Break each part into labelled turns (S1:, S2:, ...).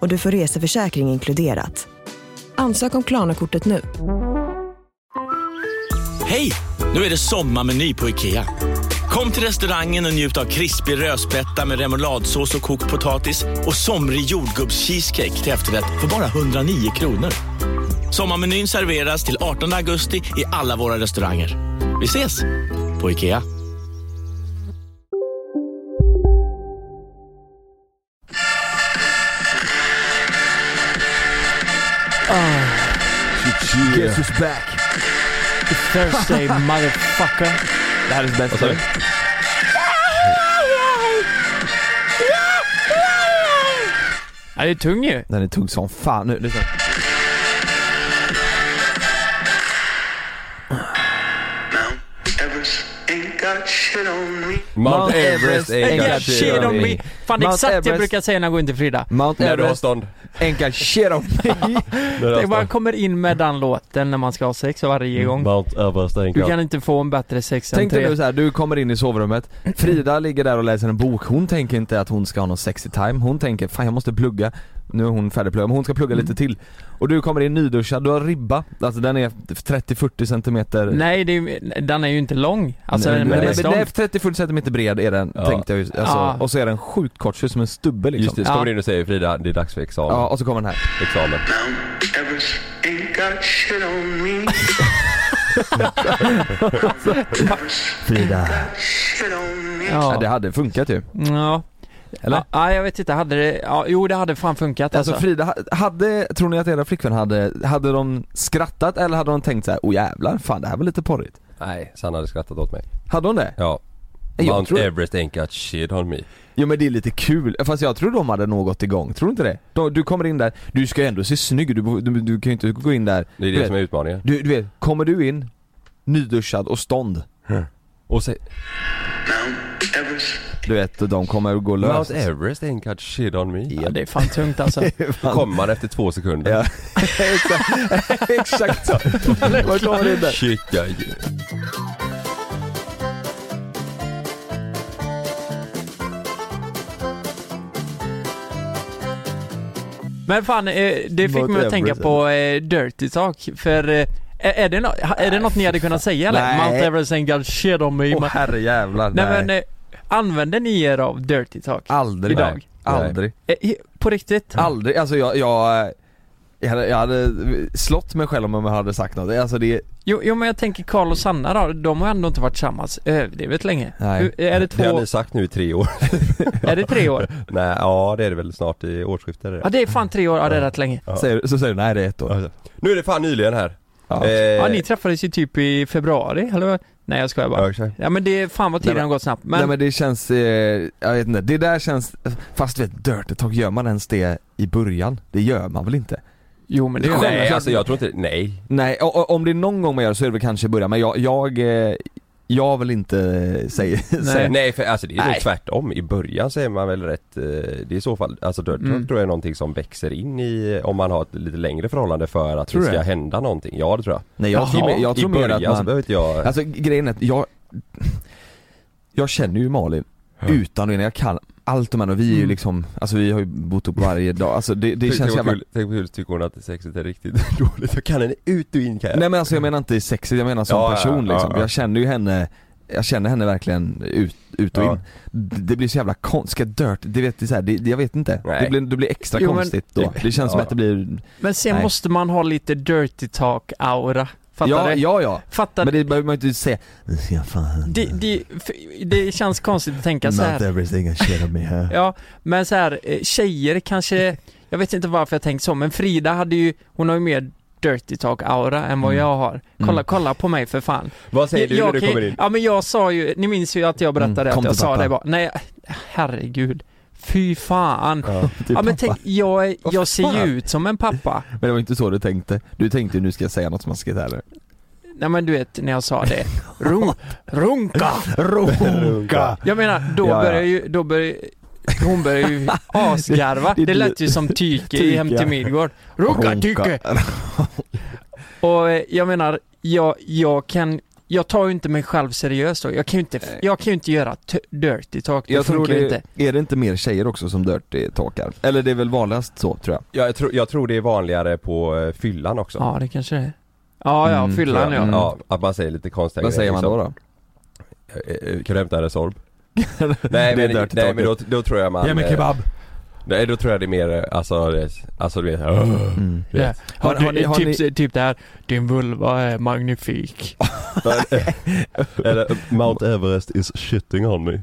S1: och du får reseförsäkring inkluderat. Ansök om Klarna-kortet nu.
S2: Hej! Nu är det sommarmeny på IKEA. Kom till restaurangen och njut av krispig rödspätta med remouladsås och kokt potatis och somrig jordgubbscheesecake till efterrätt för bara 109 kronor. Sommarmenyn serveras till 18 augusti i alla våra restauranger. Vi ses! På IKEA.
S3: Jesus back.
S4: Thursday motherfucker.
S3: Det här är det bästa.
S4: Ja, det är tung ju.
S3: Den är tung som fan. Nu, lyssna.
S5: Mount Everest ain't got shit on me.
S6: Mount Everest ain't got shit on me.
S4: Fan det är
S3: Mount
S4: exakt det jag
S3: Everest.
S4: brukar säga när jag går in till Frida.
S3: Mount
S6: När du har
S3: Everest,
S6: stånd.
S3: enkel shit on me.
S6: När du har
S4: Tänk man
S6: stånd.
S4: kommer in med den låten när man ska ha sex varje gång.
S6: Mount Everest ain't
S4: Du
S6: got...
S4: kan inte få en bättre sex än
S3: Mm, Tänk dig
S4: tre.
S3: nu så här, du kommer in i sovrummet, Frida ligger där och läser en bok, hon tänker inte att hon ska ha någon sexy time, hon tänker fan jag måste plugga, nu är hon färdigpluggad, men hon ska plugga
S6: Mm.
S3: lite till. Och du kommer in nyduschad, du har ribba, alltså den är 30-40 centimeter
S4: Nej, det är, ju- den är ju inte lång. Alltså
S3: Nej,
S4: den
S3: men,
S4: är
S3: men,
S4: stång.
S3: nej, 30-40 centimeter bred är den
S6: Ja. Ah.
S3: tänkte jag ju, alltså,
S4: Ja.
S3: och så är den sjukt kort, ser ut som en stubbe liksom.
S6: Just det, så kommer du in och säger Frida, det är dags för examen.
S3: Ja, och så kommer den här.
S6: examen.
S5: Mount Everest ain't got shit on me.
S3: Frida.
S5: Shit on me.
S3: Ja.
S4: Ja.
S3: det hade funkat ju.
S4: ja.
S3: Eller?
S4: Ja, jag vet inte. Hade det... Ja, jo, det hade fan funkat
S3: Alltså
S4: alltså.
S3: Frida, ha- hade, tror ni att era flickvän hade, hade de skrattat eller hade de tänkt så här, oh jävlar, fan det här var lite porrigt?
S6: Nej, Sanna hade skrattat åt mig.
S3: Hade hon det?
S6: Ja.
S3: Jag
S6: Mount
S3: tror-
S6: Everest ain't got shit on me.
S3: Jo men det är lite kul, fast jag tror de hade något igång, tror du inte det? De, du kommer in där, du ska ju ändå se snygg ut, du, du, du kan ju inte gå in där
S6: Det är
S3: du,
S6: det
S3: vet,
S6: som är utmaningen.
S3: du, du vet, kommer du in, nyduschad och stånd,
S6: Och säg
S5: Mount Everest.
S3: du vet, och de kommer att gå lös
S6: Mount Everest ain't got shit on me.
S4: Ja, det är fan tungt alltså.
S6: Då kommer man efter två sekunder.
S3: Ja. Exakt, exakt så! Man kommer in där
S6: Shit ja, ja.
S4: Men fan, eh, det fick
S3: Mount
S4: mig att tänka
S3: Everest.
S4: på eh, Dirty Talk, för eh, är, är, det no- är det något ni hade kunnat säga eller?
S3: Nej.
S4: Mount Everest ain't got shit on me.
S3: Åh
S4: Men-
S3: herrejävlar,
S4: Nej,
S3: nej,
S4: men eh, använder ni er av Dirty Talk?
S6: eh,
S3: Aldrig,
S4: idag.
S3: Nej. aldrig,
S4: Eh, i- på riktigt?
S3: aldrig, alltså jag, jag jag hade, jag hade slått mig själv om jag hade sagt något, alltså det,
S4: Jo, jo men jag tänker Karl och Sanna då, de har ändå inte varit tillsammans eh, överdrivet länge.
S3: Nej.
S4: Hur- Är det två,
S6: Det har ni sagt nu i tre år.
S4: är det tre år?
S6: Nej, ja det är det väl snart i årsskiftet är det.
S4: Ja det är fan tre år, ja det är rätt länge.
S3: säger, så säger du nej det är ett år
S6: Nu är det fan nyligen här.
S3: Ja.
S6: Eh,
S4: Ja ni träffades ju typ i februari, eller vad? Nej jag skojar
S6: ja,
S4: bara.
S6: exakt.
S4: Ja men det, är fan vad
S3: Nej,
S4: tiden
S3: men-
S4: har gått snabbt.
S3: Nej
S4: Men,
S3: men det känns, eh, jag vet inte, det där känns, fast du vet Dirty Talk, gör man ens det i början? Det gör man väl inte?
S4: jo men det är
S6: Nej alltså jag tror inte, nej.
S3: Nej, o- o- om det är någon gång man gör det så är det väl kanske i början, men jag, jag, eh, jag vill inte säga,
S6: Nej,
S3: säga
S6: för alltså det är nog
S3: Nej.
S6: tvärtom. I början så är man väl rätt, eh, det är i så fall, alltså Dirt Talk
S4: Mm.
S6: tror jag är någonting som växer in i, om man har ett lite längre förhållande för att
S3: Tror
S6: det
S3: du
S6: ska
S3: det?
S6: hända någonting. Ja det tror jag.
S3: Nej jag, tror,
S4: Jaha,
S3: mer- jag tror
S6: I
S3: mer
S6: början
S3: att man,
S6: så behöver inte jag,
S3: alltså grejen är att jag, jag känner ju Malin utan och innan, jag kan allt om henne och vi är ju
S4: Mm.
S3: liksom, alltså vi har ju bott upp varje dag, alltså det, det
S6: Tänk-
S3: känns
S6: tänk,
S3: jävla
S6: vad kul, tänk vad kul, tycker hon att sexet är riktigt dåligt. Jag kan henne ut och in kan jag.
S3: Nej men alltså jag menar inte sexigt, jag menar som
S6: Ja, ja,
S3: person
S6: ja,
S3: liksom.
S6: ja.
S3: Jag känner ju henne, jag känner henne verkligen ut, ut och
S6: Ja.
S3: in. D- Det blir så jävla konstigt, ska dirt, det vet, det är så här, det, det- jag vet inte.
S6: Nej.
S3: Det blir, det blir extra
S4: Jo, men-
S3: konstigt då.
S6: det-
S3: Det känns som
S6: ja.
S3: att det blir,
S4: Men sen
S3: Nej.
S4: måste man ha lite Dirty Talk-aura. Fattar
S3: ja,
S4: du?
S3: ja ja.
S4: Fattar
S3: Men
S4: det...
S3: det behöver man ju inte säga, "Ja, fan,
S4: Det, det, för- det känns konstigt att tänka så här.
S3: not everything I share on me here.
S4: Ja, men så här, eh, tjejer kanske, jag vet inte varför jag tänkt så, men Frida hade ju, hon har ju mer Dirty Talk-aura än vad
S3: Mm.
S4: jag har. Kolla,
S3: Mm.
S4: kolla på mig för fan.
S6: Vad säger du
S4: jag
S6: när du
S4: kan ju-
S6: kommer in?
S4: Ja men jag sa ju, ni minns ju att jag berättade
S3: Mm, kom
S4: att jag
S3: till
S4: sa
S3: pappa.
S4: det bara, nej, herregud. Fy fan.
S6: Ja. typ
S3: Till
S4: Ja men
S3: pappa.
S4: tänk, jag, är-
S3: Vad
S4: jag ser ju
S3: fan?
S4: ut som en pappa.
S3: Men det var inte så du tänkte. Du tänkte nu ska jag säga något smaskigt här nu.
S4: Nej men du vet när jag sa det. Ru- runka!
S3: Runka!
S4: Jag menar, då
S3: Ja, ja.
S4: börjar ju, då börjar hon börjar ju asgarva.
S3: Det-
S4: Det,
S3: det-
S4: lät ju som Tyke i
S3: Tyke,
S4: Hem till
S3: ja.
S4: Midgård. Runka Tyke! Och eh, jag menar, jag, jag kan jag tar ju inte mig själv seriöst då. Jag kan ju inte, jag kan ju inte göra t- dirty talk. Det
S3: Eh. Jag tror
S4: funkar ju inte.
S3: det, är det inte mer tjejer också som dirty talkar? Eller det är väl vanligast så tror jag.
S6: Ja, jag, tror, jag tror det är vanligare på eh, fyllan också.
S4: Ja, det kanske det är. Ja, ja,
S3: Mm,
S4: fyllan
S3: tror jag.
S4: ja.
S3: Mm.
S6: Ja, att man säger lite konstiga
S3: Vad säger man då? då?
S6: Eh, eh, Kan du hämta en Resorb?
S3: Det
S6: Nej
S3: är
S6: men,
S3: dirty
S6: nej, men då,
S3: talket.
S6: då tror jag man... eh, Nej då tror jag det är mer, eh, alltså, det, alltså du vet, "Åh",
S3: Mm.
S6: du vet.
S4: Ja. Har,
S3: Har- har ni-
S4: du,
S3: har
S4: typ, typ det här, din vulva är magnifik.
S3: Ah,
S6: Eller Mount Everest is shitting on me.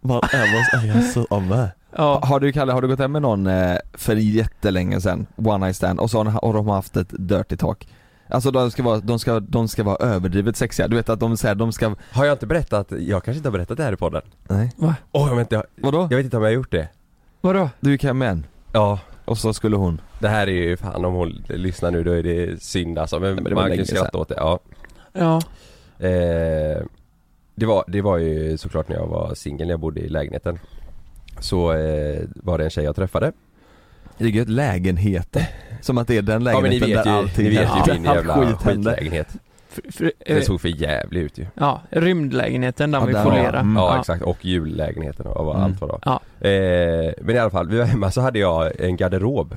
S6: Mount Everest är så on me.
S3: Ha-
S4: Ja,
S3: Har du Kalle, har du gått hem med någon eh, för jättelänge sen, one night stand, och så har de- har de haft ett dirty talk? Alltså de ska vara, de ska, de ska vara överdrivet sexiga, du vet att de säger, de ska,
S6: Har jag inte berättat, jag kanske inte har berättat det här i podden?
S3: nej,
S6: Åh, jag, vet inte, jag,
S3: vadå?
S6: jag vet inte om jag har gjort det.
S4: vadå?
S3: Du gick hem med en,
S6: Ja,
S3: och så skulle hon
S6: det här är ju, fan om hon lyssnar nu då är det synd alltså, men,
S3: men det var
S6: man kan
S3: länge
S6: ju skratta
S3: sedan.
S6: åt det. Ja.
S4: Ja.
S6: Eh, det, var, det var ju såklart när jag var singel, när jag bodde i lägenheten. Så eh, var det en tjej jag träffade.
S3: Det är gött, lägenheten. Som att det är den lägenheten
S6: ja men ni vet
S3: där
S6: ju,
S3: allting typ
S6: ni vet ju
S3: händer.
S6: min
S3: Allt
S6: jävla
S3: skit händer.
S6: skitlägenhet.
S4: För, för, eh,
S6: Den såg för jävlig ut ju.
S4: ja, rymdlägenheten där
S3: Ja,
S4: vi
S3: där
S4: får
S3: har-
S4: lera.
S3: mm,
S6: Ja,
S4: ja.
S6: exakt, och jullägenheten och vad
S3: Mm.
S6: allt vad det var.
S4: Ja.
S6: Eh, men i alla fall, vi var hemma så hade jag en garderob.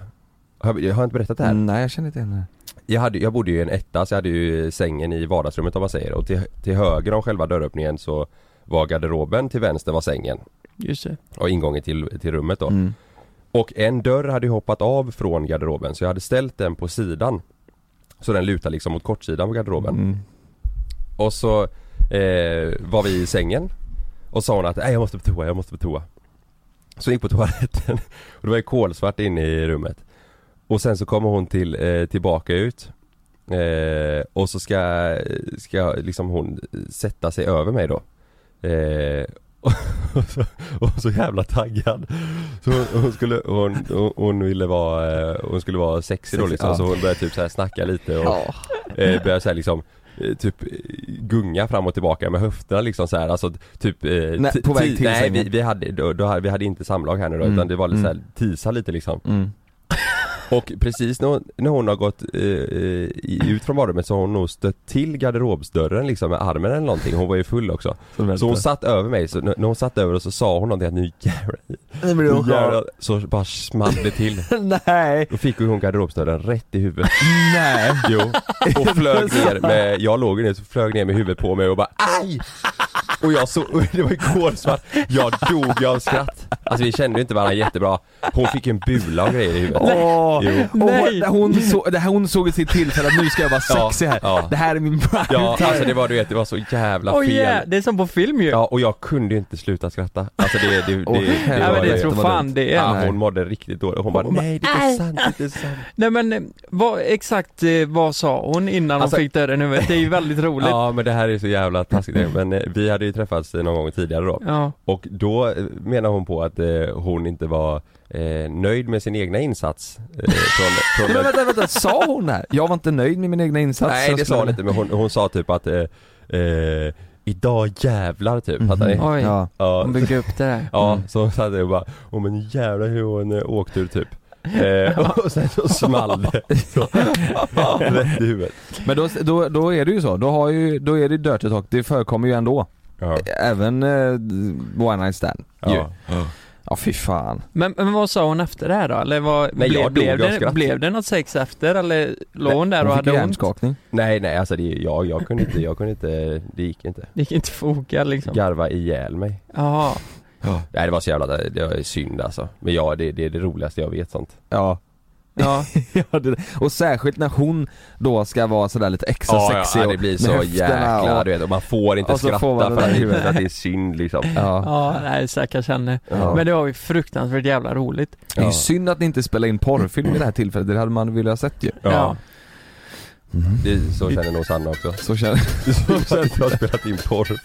S6: Har jag, har jag inte berättat det här?
S3: Mm, nej jag känner inte igen det.
S6: Jag, hade, jag bodde ju i en etta så jag hade ju sängen i vardagsrummet om man säger och till, till höger om själva dörröppningen så var garderoben, till vänster var sängen
S4: Just det.
S6: och ingången till, till rummet då.
S3: Mm.
S6: Och en dörr hade ju hoppat av från garderoben så jag hade ställt den på sidan. Så den lutar liksom mot kortsidan på garderoben.
S3: Mm.
S6: Och så eh, var vi i sängen och sa hon att nej jag måste på toa, jag måste på toa. Så jag gick på toaletten och det var ju kolsvart inne i rummet. Och sen så kommer hon till, eh, tillbaka ut eh, och så ska, ska liksom hon sätta sig över mig då. Eh, och, så, och så jävla taggad. Så hon, hon skulle, hon, hon- hon ville vara, eh, hon skulle vara sexig då
S3: Sexig,
S6: liksom
S3: ja.
S6: så hon började typ så här snacka lite och
S3: Ja.
S6: eh, börjar såhär liksom eh, Typ eh, gunga fram och tillbaka med höfterna liksom så här. alltså typ eh,
S3: Nej,
S6: ti-
S3: på väg
S6: ti-
S3: till
S6: Nej vi,
S3: sängen.
S6: vi, hade, då, då, hade- vi hade inte samlag här nu då,
S3: Mm.
S6: utan det var lite
S3: Mm.
S6: såhär, tisa lite liksom
S3: Mm.
S6: Och precis när hon, när hon har gått eh, eh, i- ut från badrummet så har hon nog stött till garderobsdörren liksom med armen eller någonting, hon var ju full också Så hon satt över mig, så n- när hon satt över och så sa hon någonting att nu jävlar,
S3: Nu blir hon
S6: nu
S3: glad.
S6: jävlar Så bara small det till
S3: Nej!
S6: Då fick ju hon garderobsdörren rätt i huvudet
S3: Nej!
S6: Jo, och flög ner med, jag låg ner så flög ner med huvudet på mig och bara aj! Och jag så, och det var igår svart, jag dog av skratt. Alltså vi kände ju inte varandra jättebra. Hon fick en bula och grejer i huvudet.
S3: Åh!
S6: Jo.
S3: Och
S4: Nej.
S3: hon, hon, så, det här, hon såg i sitt tillfälle att nu ska jag vara
S6: Ja,
S3: sexig här.
S6: ja.
S3: Det här är min prime
S6: Ja,
S3: time.
S6: alltså det var du vet, det var så jävla
S4: Oj,
S6: fel.
S4: yeah, det är som på film ju.
S6: Ja, och jag kunde ju inte sluta skratta. Alltså det, det, det,
S3: Åh,
S6: det,
S3: helvete.
S4: Nej men det
S3: var-
S4: tror
S3: det var
S4: fan
S3: dumt.
S4: det är.
S6: Ja,
S3: Nej.
S6: hon mådde riktigt dåligt. Hon bara nej det
S4: Äh.
S6: är inte sant, det är inte sant.
S4: Nej men eh, vad, exakt eh, vad sa hon innan
S6: Alltså-
S4: hon fick dörren i huvudet? Det är ju väldigt roligt. Ja.
S6: Ja men det här är så jävla taskigt. Men eh, vi hade ju träffats eh, någon gång tidigare då. Och då eh, menar hon på att eh, hon inte var eh, nöjd med sin egna insats. Eh, från,
S3: Nej,
S6: från
S3: men vänta, vänta, sa hon det här? Jag var inte nöjd med min egna insats.
S6: nej det
S3: Jag
S6: sa
S3: skulle-
S6: hon inte men hon, hon sa typ att eh, eh, Idag jävlar typ, fattar ni?
S4: Oj,
S3: Mm-hmm. Mm. Ja.
S6: Ja,
S4: hon byggde upp det där.
S6: ja så hon satt där och bara Åh men jävlar hur hon eh, åkte ur typ eh, Och sen så small det så, Rätt i huvudet
S3: Men då, då, då är det ju så, då, har ju, då är det dirty talk, det förekommer ju ändå.
S6: Ja,
S3: Även eh, one night stand. ju.
S6: ja.
S3: ja fy fan.
S4: Men, men vad sa hon efter det här då? Eller vad,
S6: Nej,
S4: blev,
S6: jag
S4: blev,
S6: dog av
S4: det,
S6: skratt.
S4: blev det något sex efter eller låg hon där och
S3: Hon fick
S4: hade
S3: ju
S4: ont?
S3: hjärnskakning.
S6: Nej nej alltså det, jag, jag kunde inte, jag kunde inte, det gick inte
S4: Det gick inte att foga liksom.
S6: Garva ihjäl mig
S4: Jaha.
S6: Nej det var så jävla, det var synd alltså. Men ja, det, det är det roligaste jag vet sånt.
S3: Ja.
S4: Ja.
S3: Ja, det, och särskilt när hon då ska vara sådär lite extra sexig
S6: det
S3: och
S6: blir
S3: med
S6: så
S3: höfterna
S6: jäkla,
S3: och-
S6: du vet, och man får inte
S3: Och så
S6: skratta
S3: får man det
S6: för
S3: där
S6: att
S3: i
S6: det,
S3: huvudet.
S6: för att det är synd liksom.
S3: Ja.
S4: Ja, nej stackars henne.
S3: Ja.
S4: Men det var ju fruktansvärt jävla roligt.
S3: Det är ju
S6: Ja.
S3: synd att ni inte spelar in porrfilm i det här tillfället, det hade man velat ha sett ju. Mm.
S6: Ja.
S4: Ja.
S6: Det, så känner nog Sanna också.
S3: Så känner
S6: Så känner jag har spelat in porrfilm.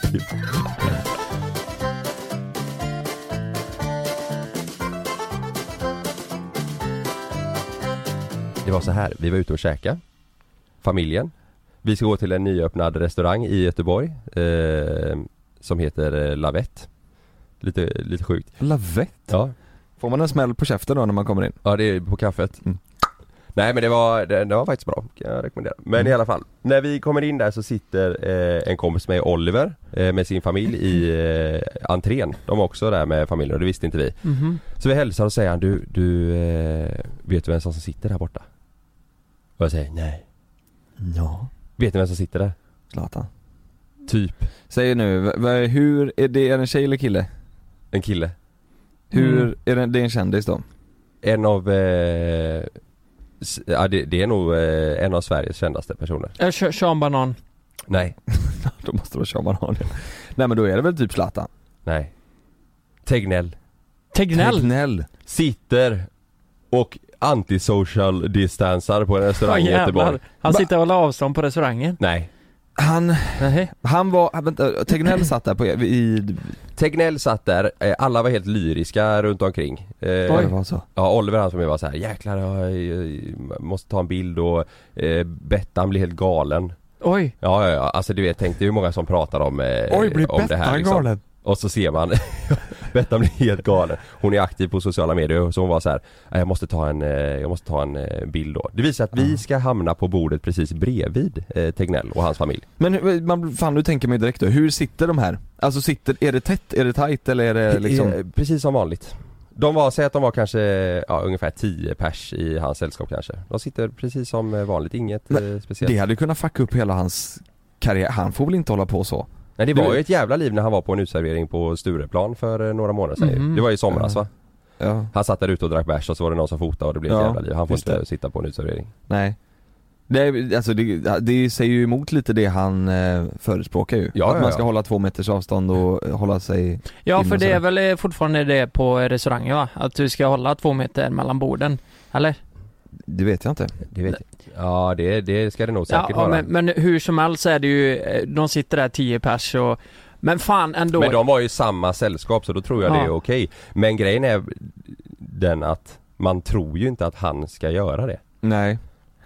S6: det var så här, vi var ute och käka Familjen Vi ska gå till en nyöppnad restaurang i Göteborg eh, Som heter eh, Lavette Lite, lite sjukt
S3: Lavett.
S6: Ja,
S3: Får man en smäll på käften då när man kommer in?
S6: Ja det är på kaffet
S3: Mm.
S6: Nej men det var, det, det var faktiskt bra, kan jag rekommendera. Men i alla fall, när vi kommer in där så sitter eh, en kompis med Oliver eh, med sin familj i eh, entrén. De var också där med familjen och det visste inte vi.
S4: Mhm.
S6: Så vi hälsar och säger han du, du eh, vet du vem som sitter där borta? Och jag säger nej.
S3: Ja.
S6: Vet ni vem som sitter där?
S3: Zlatan.
S6: Typ
S3: Säg nu, v- v- hur, är det, är det en tjej eller kille?
S6: en kille.
S3: Hur,
S4: Mm.
S3: är det, det är en kändis då?
S6: En av, eh, s- ja det, det är nog eh, en av Sveriges kändaste personer.
S4: Eh, Sh- Sean Banan.
S6: Nej,
S3: då måste det vara Sean Banan ja. Nej men då är det väl typ Zlatan?
S6: nej. Tegnell.
S4: Tegnell.
S3: Tegnell.
S6: sitter och antisocial distansar på en
S4: Ja,
S6: restaurang i Göteborg.
S4: jävlar. Han
S3: Ba-
S4: sitter och håller avstånd på restaurangen.
S6: Nej.
S3: Han,
S4: Nej.
S3: han var, vänta, Tegnell satt där på, e- i,
S6: Tegnell satt där, eh, alla var helt lyriska runt omkring. Eh,
S3: ja, det var så.
S6: ja, Oliver han som är var så här, jäklar jag, jag måste ta en bild och eh, Bettan blir helt galen.
S4: Oj.
S6: Ja, ja, ja, alltså du vet, tänk dig hur många som pratar om, eh, om det här liksom. Och så ser man Bettan blir helt galen Hon är aktiv på sociala medier så hon var så här "Nej, Jag måste ta en, eh, jag måste ta en eh, bild då Det visar att vi ska hamna på bordet precis bredvid eh, Tegnell och hans familj
S3: Men hur- man, fan nu tänker man ju direkt då, hur sitter de här? Alltså sitter, är det tätt, är det tight eller är det liksom?
S6: Eh, Precis som vanligt De var, säg att de var kanske ja, ungefär 10 pers i hans sällskap kanske De sitter precis som eh, vanligt, inget eh, speciellt
S3: Det hade ju kunnat fucka upp hela hans karriär, han får väl inte hålla på så?
S6: Nej det var
S3: du-
S6: ju ett jävla liv när han var på en utservering på Stureplan för eh, några månader sedan ju.
S4: Mhm.
S6: Det var ju i somras
S3: Ja.
S6: va?
S3: Ja,
S6: Han satt där ute och drack bärs och så var det någon som fotade och det blev ett
S3: Ja,
S6: jävla liv Han får
S3: just
S6: inte
S3: det.
S6: sitta på en utservering
S3: nej. Det, alltså det, det säger ju emot lite det han eh, förespråkar ju.
S6: Ja,
S3: att
S6: ja,
S3: man ska
S6: ja.
S3: hålla två meters avstånd och eh, hålla sig
S4: Ja,
S3: Filmen
S4: för det
S3: sådär.
S4: är väl eh, fortfarande det på restauranger va? Att du ska hålla två meter mellan borden. Eller?
S3: Det vet jag inte.
S6: Det vet jag. Ja det, det ska det nog säkert
S4: ja,
S6: vara.
S4: men,
S6: Men,
S4: men hur som helst så är det ju, eh, de sitter där 10 pers och men fan ändå.
S6: de var ju i samma sällskap så då tror jag det
S4: Ja.
S6: är okej. Men grejen är den att man tror ju inte att han ska göra det.
S3: Nej.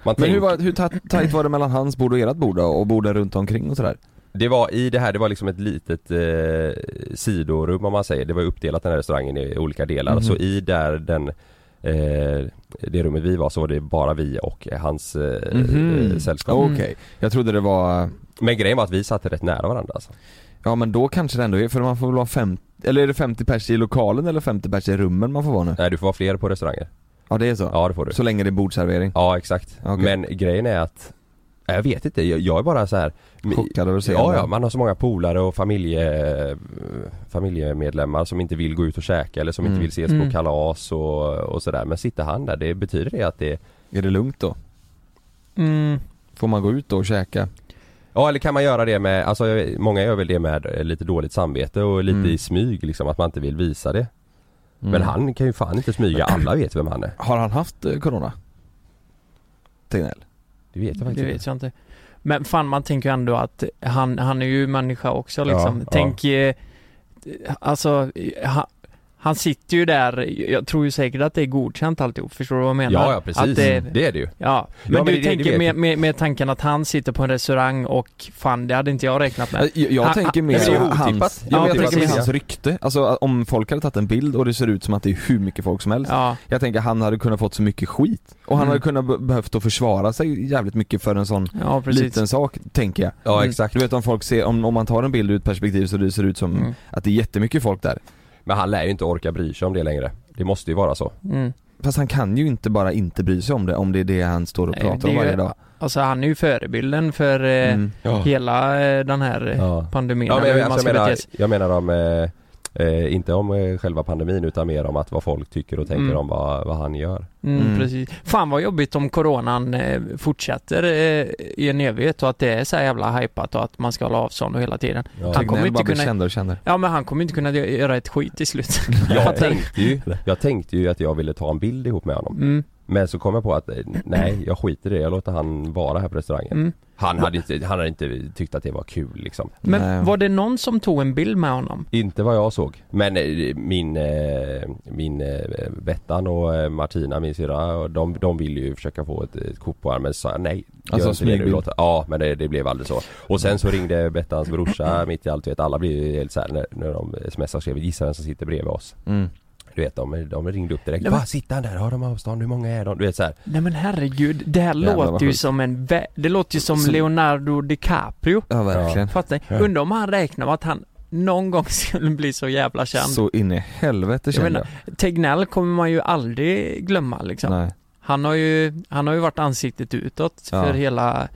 S6: Man
S3: Men
S6: tänker,
S3: hur, var, hur ta- tajt var det mellan hans bord och ert bord då? Och borden runt omkring och sådär?
S6: Det var i det här, det var liksom ett litet eh, sidorum om man säger. Det var ju uppdelat den här restaurangen i olika delar.
S3: Mhm.
S6: Så i där den eh, det rummet vi var så var det bara vi och eh, hans eh,
S3: Mhm.
S6: eh, sällskap.
S3: Okej. Jag trodde det var,
S6: Men grejen var att vi satt rätt nära varandra alltså.
S3: ja men då kanske det ändå är, för man får väl vara 50, eller är det 50 pers i lokalen eller 50 pers i rummen man får vara nu?
S6: Nej du får vara fler på restauranger.
S3: Ja det är så?
S6: Ja det får du.
S3: Så länge det är bordservering?
S6: Ja exakt.
S3: Okej.
S6: Men grejen är att Nej, jag vet inte, jag, jag är bara så här.
S3: Chockad över att se
S6: Mm. Ja,
S3: det.
S6: ja, man har så många polare och familje, eh, familjemedlemmar som inte vill gå ut och käka eller som
S3: Mm.
S6: inte vill ses
S4: Mm.
S6: på kalas och, och sådär. Men sitter han där, det betyder det att det
S3: Är det lugnt då?
S4: Mm,
S3: Får man gå ut då och käka?
S6: Ja eller kan man göra det med, alltså jag- många gör väl det med eh, lite dåligt samvete och lite
S3: Mm.
S6: i smyg liksom att man inte vill visa det.
S3: Mm.
S6: Men han kan ju fan inte smyga, alla vet vem han är.
S3: Har han haft eh, corona? Tegnell?
S6: Det vet jag
S4: det
S6: faktiskt
S4: vet jag inte. Men fan man tänker ju ändå att han, han är ju människa också liksom.
S6: Ja,
S4: Tänk, eh, alltså, han, han sitter ju där, jag tror ju säkert att det är godkänt alltihop, förstår du vad jag menar?
S6: Ja, ja precis. Mm.
S4: Att det,
S6: Det är det ju.
S4: Ja, men,
S6: men
S4: du
S6: det- det
S4: tänker
S6: vet jag.
S4: med, med, med tanken att han sitter på en restaurang och fan det hade inte jag räknat med.
S3: Jag, jag
S4: Han-
S3: tänker mer
S6: men det är ju
S3: hans,
S6: otippat.
S3: ja, men jag
S4: Otippat,
S3: tänker mer
S4: ja.
S3: hans rykte. Alltså att om folk hade tagit en bild och det ser ut som att det är hur mycket folk som helst.
S4: Ja,
S3: Jag tänker han hade kunnat fått så mycket skit. Och han
S4: Mm.
S3: hade kunnat be- behövt att försvara sig jävligt mycket för en sån
S4: ja precis.
S3: liten sak, tänker jag.
S6: Ja
S4: Mm.
S6: exakt.
S3: Du vet om folk ser, om, om man tar en bild ur ett perspektiv så det ser ut som
S4: Mm.
S3: att det är jättemycket folk där.
S6: Men han lär ju inte orka bry sig om det längre. Det måste ju vara så.
S4: Mm.
S3: Fast han kan ju inte bara inte bry sig om det, om det är det han står och
S4: Nej,
S3: pratar
S4: det
S3: om
S4: är ju-
S3: varje dag.
S4: Alltså han är ju förebilden för eh,
S3: Mm.
S4: hela eh, den här eh,
S6: Ja.
S4: pandemin.
S6: Ja, men
S4: eller hur
S6: jag,
S4: man
S6: alltså,
S4: ska
S6: jag, menar,
S4: bete sig.
S6: jag menar om, eh, eh, inte om eh, själva pandemin utan mer om att vad folk tycker och tänker
S4: Mm.
S6: om vad, vad han gör.
S4: Mm,
S3: Mm.
S4: Precis. Fan vad jobbigt om coronan eh, fortsätter eh, i en evighet och att det är så här jävla hypat och att man ska hålla avstånd och hela tiden.
S6: Ja.
S4: Han kommer
S3: Tegnell
S4: inte
S3: bara blir
S4: kunna-
S3: kändare och kändare.
S4: Ja men han kommer inte kunna gö- göra ett skit i slut.
S6: Jag
S4: Fattar du?
S6: tänkte ju, jag tänkte ju att jag ville ta en bild ihop med honom.
S4: Mm.
S6: Men så kom jag på att eh, nej, jag skiter i det. Jag låter han vara här på restaurangen.
S4: Mm.
S6: Han, hade inte, han hade inte tyckt att det var kul liksom.
S4: Men
S3: Nej.
S4: var det någon som tog en bild med honom?
S6: Inte vad jag såg. Men eh, min, eh, min eh, Bettan och eh, Martina, min syrra, och de, de ville ju försöka få ett, ett kort på armen. Så sa jag nej. gör
S3: Alltså,
S6: inte det nu,
S3: smygbild.
S6: låt- Ja, men det, det blev aldrig så. Och sen så ringde Bettans brorsa mitt i allt. du Vet, alla blir ju helt såhär när, när de smsar och skriver gissa vem som sitter bredvid oss.
S3: Mm.
S6: Du vet, de, de ringde upp direkt.
S4: Nej, men-
S6: Va, sitter han där? Har de avstånd? Hur många är de? Du vet såhär.
S4: Nej men herregud, det här
S3: Jävlar, vad
S4: låter ju
S3: sjukt.
S4: som en vä- Det låter ju som
S3: Som-
S4: Leonardo DiCaprio.
S3: Ja verkligen.
S4: Fattar ni?
S6: Ja.
S4: Undrar om han räknar med att han någon gång skulle bli så jävla känd.
S3: Så in i helvete
S4: Jag
S3: kände
S4: menar,
S3: jag.
S4: Tegnell kommer man ju aldrig glömma liksom.
S3: Nej.
S4: Han har ju, han har ju varit ansiktet utåt
S3: Ja.
S4: för hela,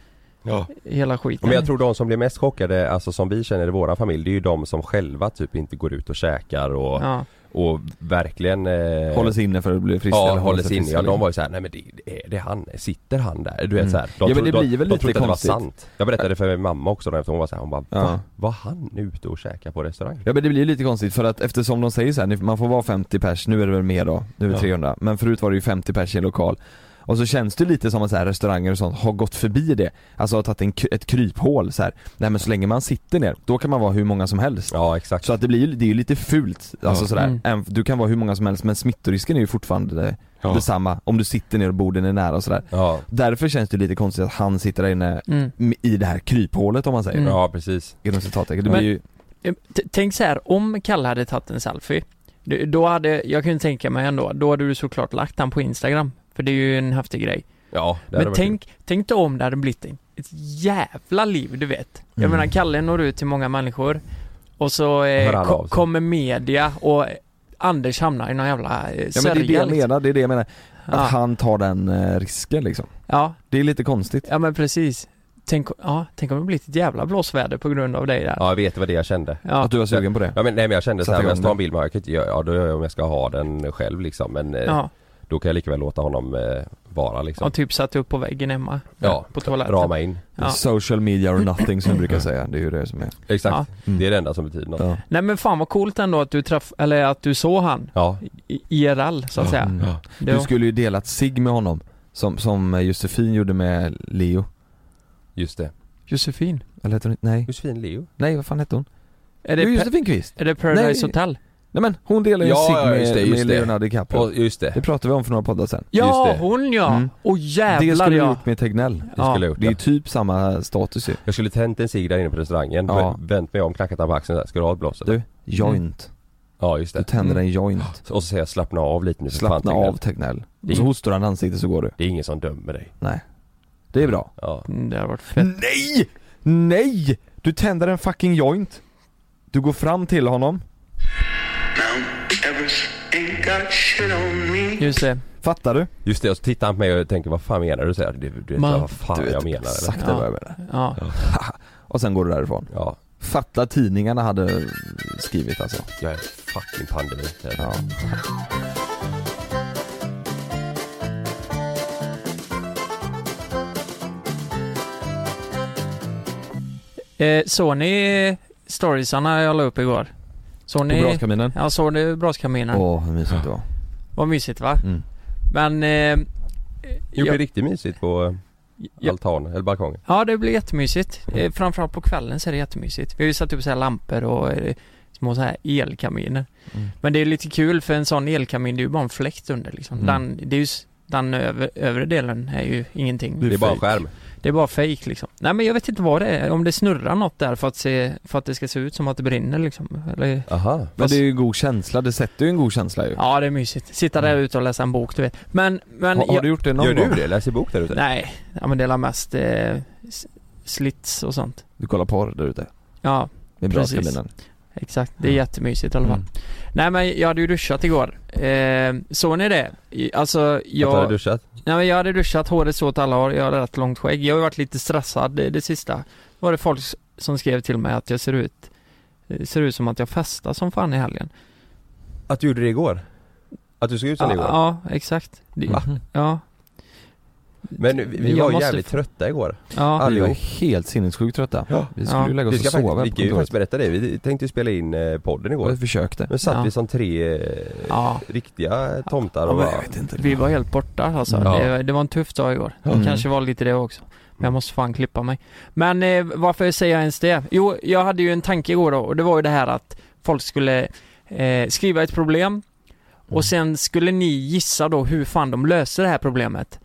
S6: Ja.
S4: hela skiten.
S6: Men jag tror de som blir mest chockade, alltså som vi känner i våra familj, det är ju de som själva typ inte går ut och käkar och,
S4: Ja.
S6: och verkligen eh,
S3: Håller sig inne för att bli frisk.
S6: Ja,
S3: eller
S6: håller sig inne.
S3: frisk,
S6: Ja, de
S3: liksom.
S6: var ju såhär, nej men det, det är det han, sitter han där? Du vet
S3: Mm.
S6: såhär,
S3: Ja, men
S6: trodde-
S3: det blir väl
S6: de
S3: lite
S6: trodde att det var
S3: konstigt.
S6: sant. Jag berättade för min mamma också då, eftersom hon var såhär, hon bara,
S3: Ja.
S6: va? Var han ute och käkade på restaurang?
S3: Ja men det blir ju lite konstigt för att eftersom de säger så här, ni- man får vara 50 pers, nu är det väl mer då, nu är det
S6: Ja.
S3: 300, men förut var det ju 50 pers i en lokal och så känns det lite som att så här, restauranger och sånt har gått förbi det, alltså har tagit en, k- ett kryphål så här. nej men så länge man sitter ner, då kan man vara hur många som helst
S6: Ja, exakt.
S3: Så att det blir ju, det är ju lite fult, alltså
S6: Ja.
S3: sådär,
S4: Mm.
S3: Även- du kan vara hur många som helst men smittorisken är ju fortfarande
S6: Ja.
S3: detsamma om du sitter ner och borden är nära och sådär
S6: Ja,
S3: Därför känns det lite konstigt att han sitter där inne
S4: Mm.
S3: i det här kryphålet om man säger,
S4: Mm.
S6: ja precis.
S3: inom citattecken, det
S4: Men-
S3: blir ju,
S4: Eh, t- Tänk så här, om Kalle hade tagit en selfie, det- då hade, jag kunde tänka mig ändå, då hade du såklart lagt han på Instagram. För det är ju en häftig grej.
S6: Ja, det hade
S4: Men
S6: varit
S4: tänk, tänk då om det hade blivit en- ett jävla liv, du vet. Jag
S3: Mm.
S4: menar, Kalle når ut till många människor och så
S6: Hör
S4: eh,
S6: alla
S4: ko-
S6: av sig.
S4: kommer media och Anders hamnar i någon jävla eh,
S3: ja men det är det
S4: sörja,
S3: jag
S4: liksom.
S3: menar, det är det jag menar Att
S4: ja.
S3: han tar den eh, risken liksom.
S4: ja,
S3: Det är lite konstigt.
S4: ja, men precis. Tänk, ja, tänk om det blir ett jävla blåsväder på grund av dig där.
S6: kul. Ja, jag vet vad det jag kände.
S4: Ja.
S3: Att du var sugen på det.
S6: Ja men nej men jag kände
S3: Sätta
S6: såhär, om jag
S3: igång
S6: tar
S3: det.
S6: en bild med honom, jag kan inte göra- ja då gör jag om jag ska ha den själv liksom men eh,
S4: Ja,
S6: då kan jag lika väl låta honom eh, vara liksom.
S4: och typ satt upp på väggen hemma.
S6: Ja,
S4: på toaletten.
S3: typ.
S6: Rama in.
S4: Ja.
S3: Social media or nothing som jag brukar säga, det är ju det som är.
S6: Exakt.
S4: Ja.
S3: Mm.
S6: Det är det enda som betyder något.
S3: Ja.
S4: Nej men fan vad coolt ändå att du träff eller att du såg han
S6: Ja.
S4: i- IRL så att säga.
S3: Mm.
S4: Det
S3: Du
S4: var,
S3: skulle ju delat sig med honom, som, som Josefin gjorde med Leo.
S6: just det.
S4: Josefin.
S3: Eller hette hon inte- Nej,
S6: Josefin Leo.
S3: nej vad fan hette hon?
S4: Är
S3: Det
S4: det,
S3: är
S4: pe-
S3: Josefin Kvist.
S4: är det Paradise
S3: Nej.
S4: Hotel?
S3: Nej men hon delar ju
S6: Ja,
S3: sig
S6: ja,
S3: med,
S6: just det, just
S3: med
S6: det.
S3: Leonardo DiCaprio.
S6: Och, just det.
S3: det pratade vi om för några poddar sen.
S4: Ja,
S6: det.
S4: hon ja!
S3: Mm.
S4: Och
S3: det
S4: jävlar
S3: skulle du
S4: ja!
S3: gjort med Tegnell.
S6: Det skulle jag gjort.
S3: Det är ju typ samma status ju.
S6: Jag skulle tänt en cigg där inne på restaurangen,
S3: Ja.
S6: ja. vänt mig om, knackat honom på axeln såhär, ska du ha ett blås? eller?"
S3: Du, joint.
S6: Ja just
S3: Du
S6: det.
S3: tänder
S4: Mm.
S3: en joint.
S6: Och så säger jag slappna av lite nu för fan,
S3: Slappna
S6: Tegnell.
S3: av Tegnell.
S4: Det-
S3: Och så hostar han i ansiktet så går du.
S6: Det är ingen som dömer dig.
S3: Det är bra.
S6: Ja.
S4: Mm, Det har varit fett.
S3: Nej! Nej! Du tänder en fucking joint. Du går fram till honom.
S5: Mount Everest ain't got shit on me.
S4: Just det.
S3: Fattar du?
S6: Just det, och så tittar han på mig och tänker vad fan menar du? Så här, du, du vet
S4: Man-
S6: vad fan
S3: du
S6: jag menar eller?
S3: exakt
S4: Ja.
S3: vad jag menar.
S4: Ja.
S3: Och sen går du därifrån.
S6: Ja,
S3: Fatta tidningarna hade skrivit alltså.
S6: jag är fucking pandemi.
S3: Ja.
S4: Eh, såg ni storiesarna jag la upp igår? Såg
S3: På
S4: ni?
S3: braskaminen.
S4: Ja, såg ni braskaminen?
S3: Åh, hur mysigt det var.
S4: Vad mysigt va?
S3: Mm.
S4: Men... Eh,
S6: Gjorde
S4: jag-
S6: riktigt mysigt på eh,
S4: jag-
S6: altanen, eller balkongen.
S4: Ja, det blir jättemysigt. Eh, Framförallt på kvällen så är det jättemysigt. Vi har ju satt upp så här lampor och eh, små så här elkaminer.
S3: Mm.
S4: Men det är lite kul för en sån elkamin, det är ju bara en fläkt under liksom.
S3: Mm.
S4: Den, det är ju, s- den över, övre delen är ju ingenting.
S6: Det är bara en
S3: fake.
S6: skärm.
S4: Det är bara fake liksom. Nej men jag vet inte vad det är, om det snurrar något där för att se, för att det ska se ut som att det brinner liksom. Eller...
S6: Aha.
S3: Men det är ju en god känsla. Det sätter ju en god känsla ju.
S4: Ja det är mysigt. Sitta där ute och läsa en bok du vet. Men, men...
S3: Mm. har, har
S4: jag-
S3: du gjort det någon
S6: Gör
S3: gång?
S6: du det? Läser bok där ute?
S4: Nej, ja men det är väl mest eh, s- slits och sånt.
S3: Du kollar porr där ute.
S4: Ja,
S3: Med
S4: Precis.
S3: braskaminen.
S4: exakt. Det är
S3: Mm.
S4: jättemysigt i alla fall.
S3: Mm.
S4: Nej men jag hade ju duschat igår. Eh, såg ni det? I- Alltså
S6: Att du hade
S4: jag...
S6: duschat?
S4: Nej men jag hade duschat, håret så åt alla håll, jag hade rätt långt skägg. Jag har ju varit lite stressad det, det sista. Var det folk s- som skrev till mig att jag ser ut, eh, ser ut som att jag festar som fan i helgen.
S6: Att du gjorde det igår? Att du såg ut som det
S4: Ja,
S6: igår?
S4: Mm. ja, exakt. Det,
S3: Mhm.
S4: Ja.
S6: Men vi, vi
S4: Jag
S6: var ju
S4: måste-
S6: jävligt trötta igår.
S4: Ja,
S3: Vi var
S6: Allihop.
S3: helt sinnessjukt trötta.
S6: Ja.
S3: Vi skulle
S4: Ja.
S3: ju lägga
S6: Vi
S3: oss
S6: ska
S3: och sova
S6: faktiskt,
S3: på
S6: vi kan ju
S3: kontoret.
S6: faktiskt berätta det. Vi tänkte ju spela in eh, podden
S3: Och Vi
S6: igår.
S3: försökte.
S6: Men satt
S4: Ja.
S6: vi som tre eh,
S4: ja.
S6: riktiga tomtar och
S4: Ja, men
S6: bara,
S4: Vi var helt borta alltså.
S6: Ja.
S4: Det, det var en tuff dag igår. Det
S3: Mm.
S4: kanske var lite det också. Men jag måste fan klippa mig. Men eh, varför säger jag ens det? Jo, jag hade ju en tanke igår då och det var ju det här att folk skulle eh, skriva ett problem
S3: Mm.
S4: och sen skulle ni gissa då hur fan de löser det här problemet.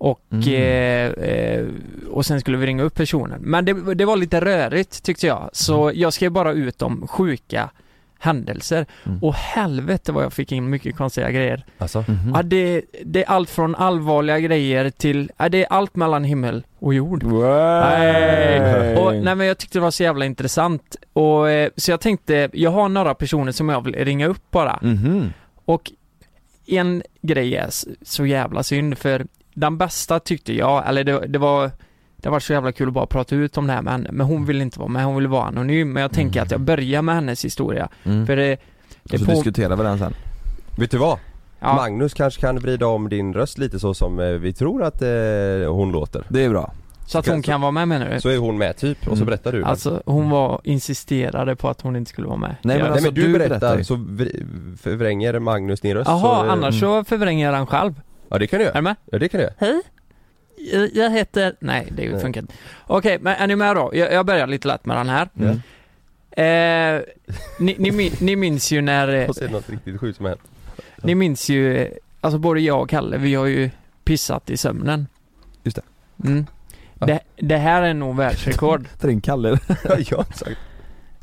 S4: Och,
S3: Mm.
S4: eh, eh, och sen skulle vi ringa upp personen. Men det, det var lite rörigt tyckte jag. Så jag skrev bara ut om sjuka händelser.
S3: Mm.
S4: Och helvete vad jag fick in mycket konstiga grejer.
S6: alltså,
S3: Mhm.
S4: Ja, det, det är allt från allvarliga grejer till, ja, det är allt mellan himmel och jord. Nej. Och, nej men jag tyckte det var så jävla intressant och eh, så jag tänkte, jag har några personer som jag vill ringa upp bara
S3: Mhm.
S4: och en grej är s- så jävla synd för den bästa tyckte jag, eller det, det var det var så jävla kul att bara prata ut om det här med henne, men hon vill inte vara med, hon vill vara anonym men jag tänker att jag börjar med hennes historia
S3: Mm.
S4: för det,
S3: Och
S4: det
S3: så
S4: på,
S3: diskuterar vi den sen.
S6: vet du vad?
S4: ja,
S6: Magnus kanske kan vrida om din röst lite så som eh, vi tror att eh, hon låter.
S3: Det är bra.
S4: så att hon kan vara med menar du?
S6: Så är hon med typ, och så
S3: Mm.
S6: berättar du.
S4: Alltså hon var, insisterade på att hon inte skulle vara med.
S3: Nej, men
S4: Ja.
S3: alltså,
S6: Nej men du,
S3: du
S6: berättar,
S3: berättar ju.
S6: så vri- förvränger Magnus din röst.
S4: Jaha,
S6: så, eh,
S4: annars så förvränger jag den själv.
S6: Ja det kan du
S4: Är du
S6: göra.
S4: med?
S6: Ja det kan du göra.
S4: Jag- Jag heter... Nej, det
S6: Nej.
S4: funkar inte. Okej, men är ni med då? Jag, jag börjar lite lätt med den här.
S3: Mm.
S4: Eh, ni, ni, min- ni minns ju när... eh,
S6: Och så är det något riktigt sjukt som hänt.
S4: Ni minns ju... eh, Alltså både jag och Kalle, vi har ju pissat i sömnen.
S3: Just
S4: det. Mm.
S6: Ja.
S4: Det, det här är nog världsrekord.
S3: Ring Kalle.
S6: jag har inte sagt.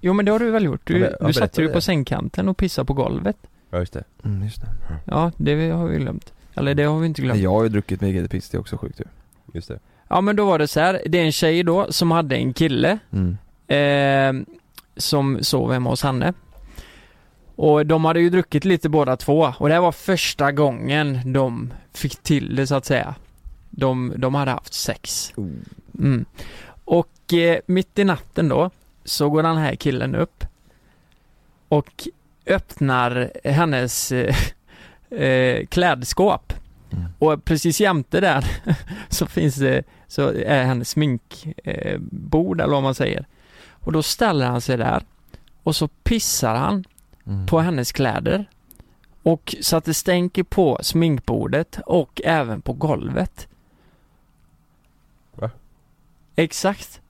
S4: Jo men det har du väl gjort?
S6: Ja, men
S4: Du,
S6: jag
S4: du satte
S6: berättade
S4: dig på
S6: det.
S4: sängkanten och pissade på golvet.
S6: Ja just det.
S3: Mm, just det.
S4: Ja, det har vi glömt. Eller det har vi inte glömt.
S3: Jag har ju druckit mycket piss, det är också sjukt ju.
S6: Just det.
S4: Ja men då var det så här. det är en tjej då som hade en kille
S3: Mm.
S4: eh, som sov hemma hos henne. Och de hade ju druckit lite båda två och det här var första gången de fick till det så att säga. De, de hade haft sex. Mm. Och eh, mitt i natten då så går den här killen upp och öppnar hennes eh, eh, klädskåp.
S3: Mm.
S4: Och precis jämte där så finns det, så är hennes sminkbord eh, bord, eller vad man säger. Och då ställer han sig där och så pissar han
S3: Mm.
S4: på hennes kläder. Och så att det stänker på sminkbordet och även på golvet.
S6: Va?
S4: Exakt.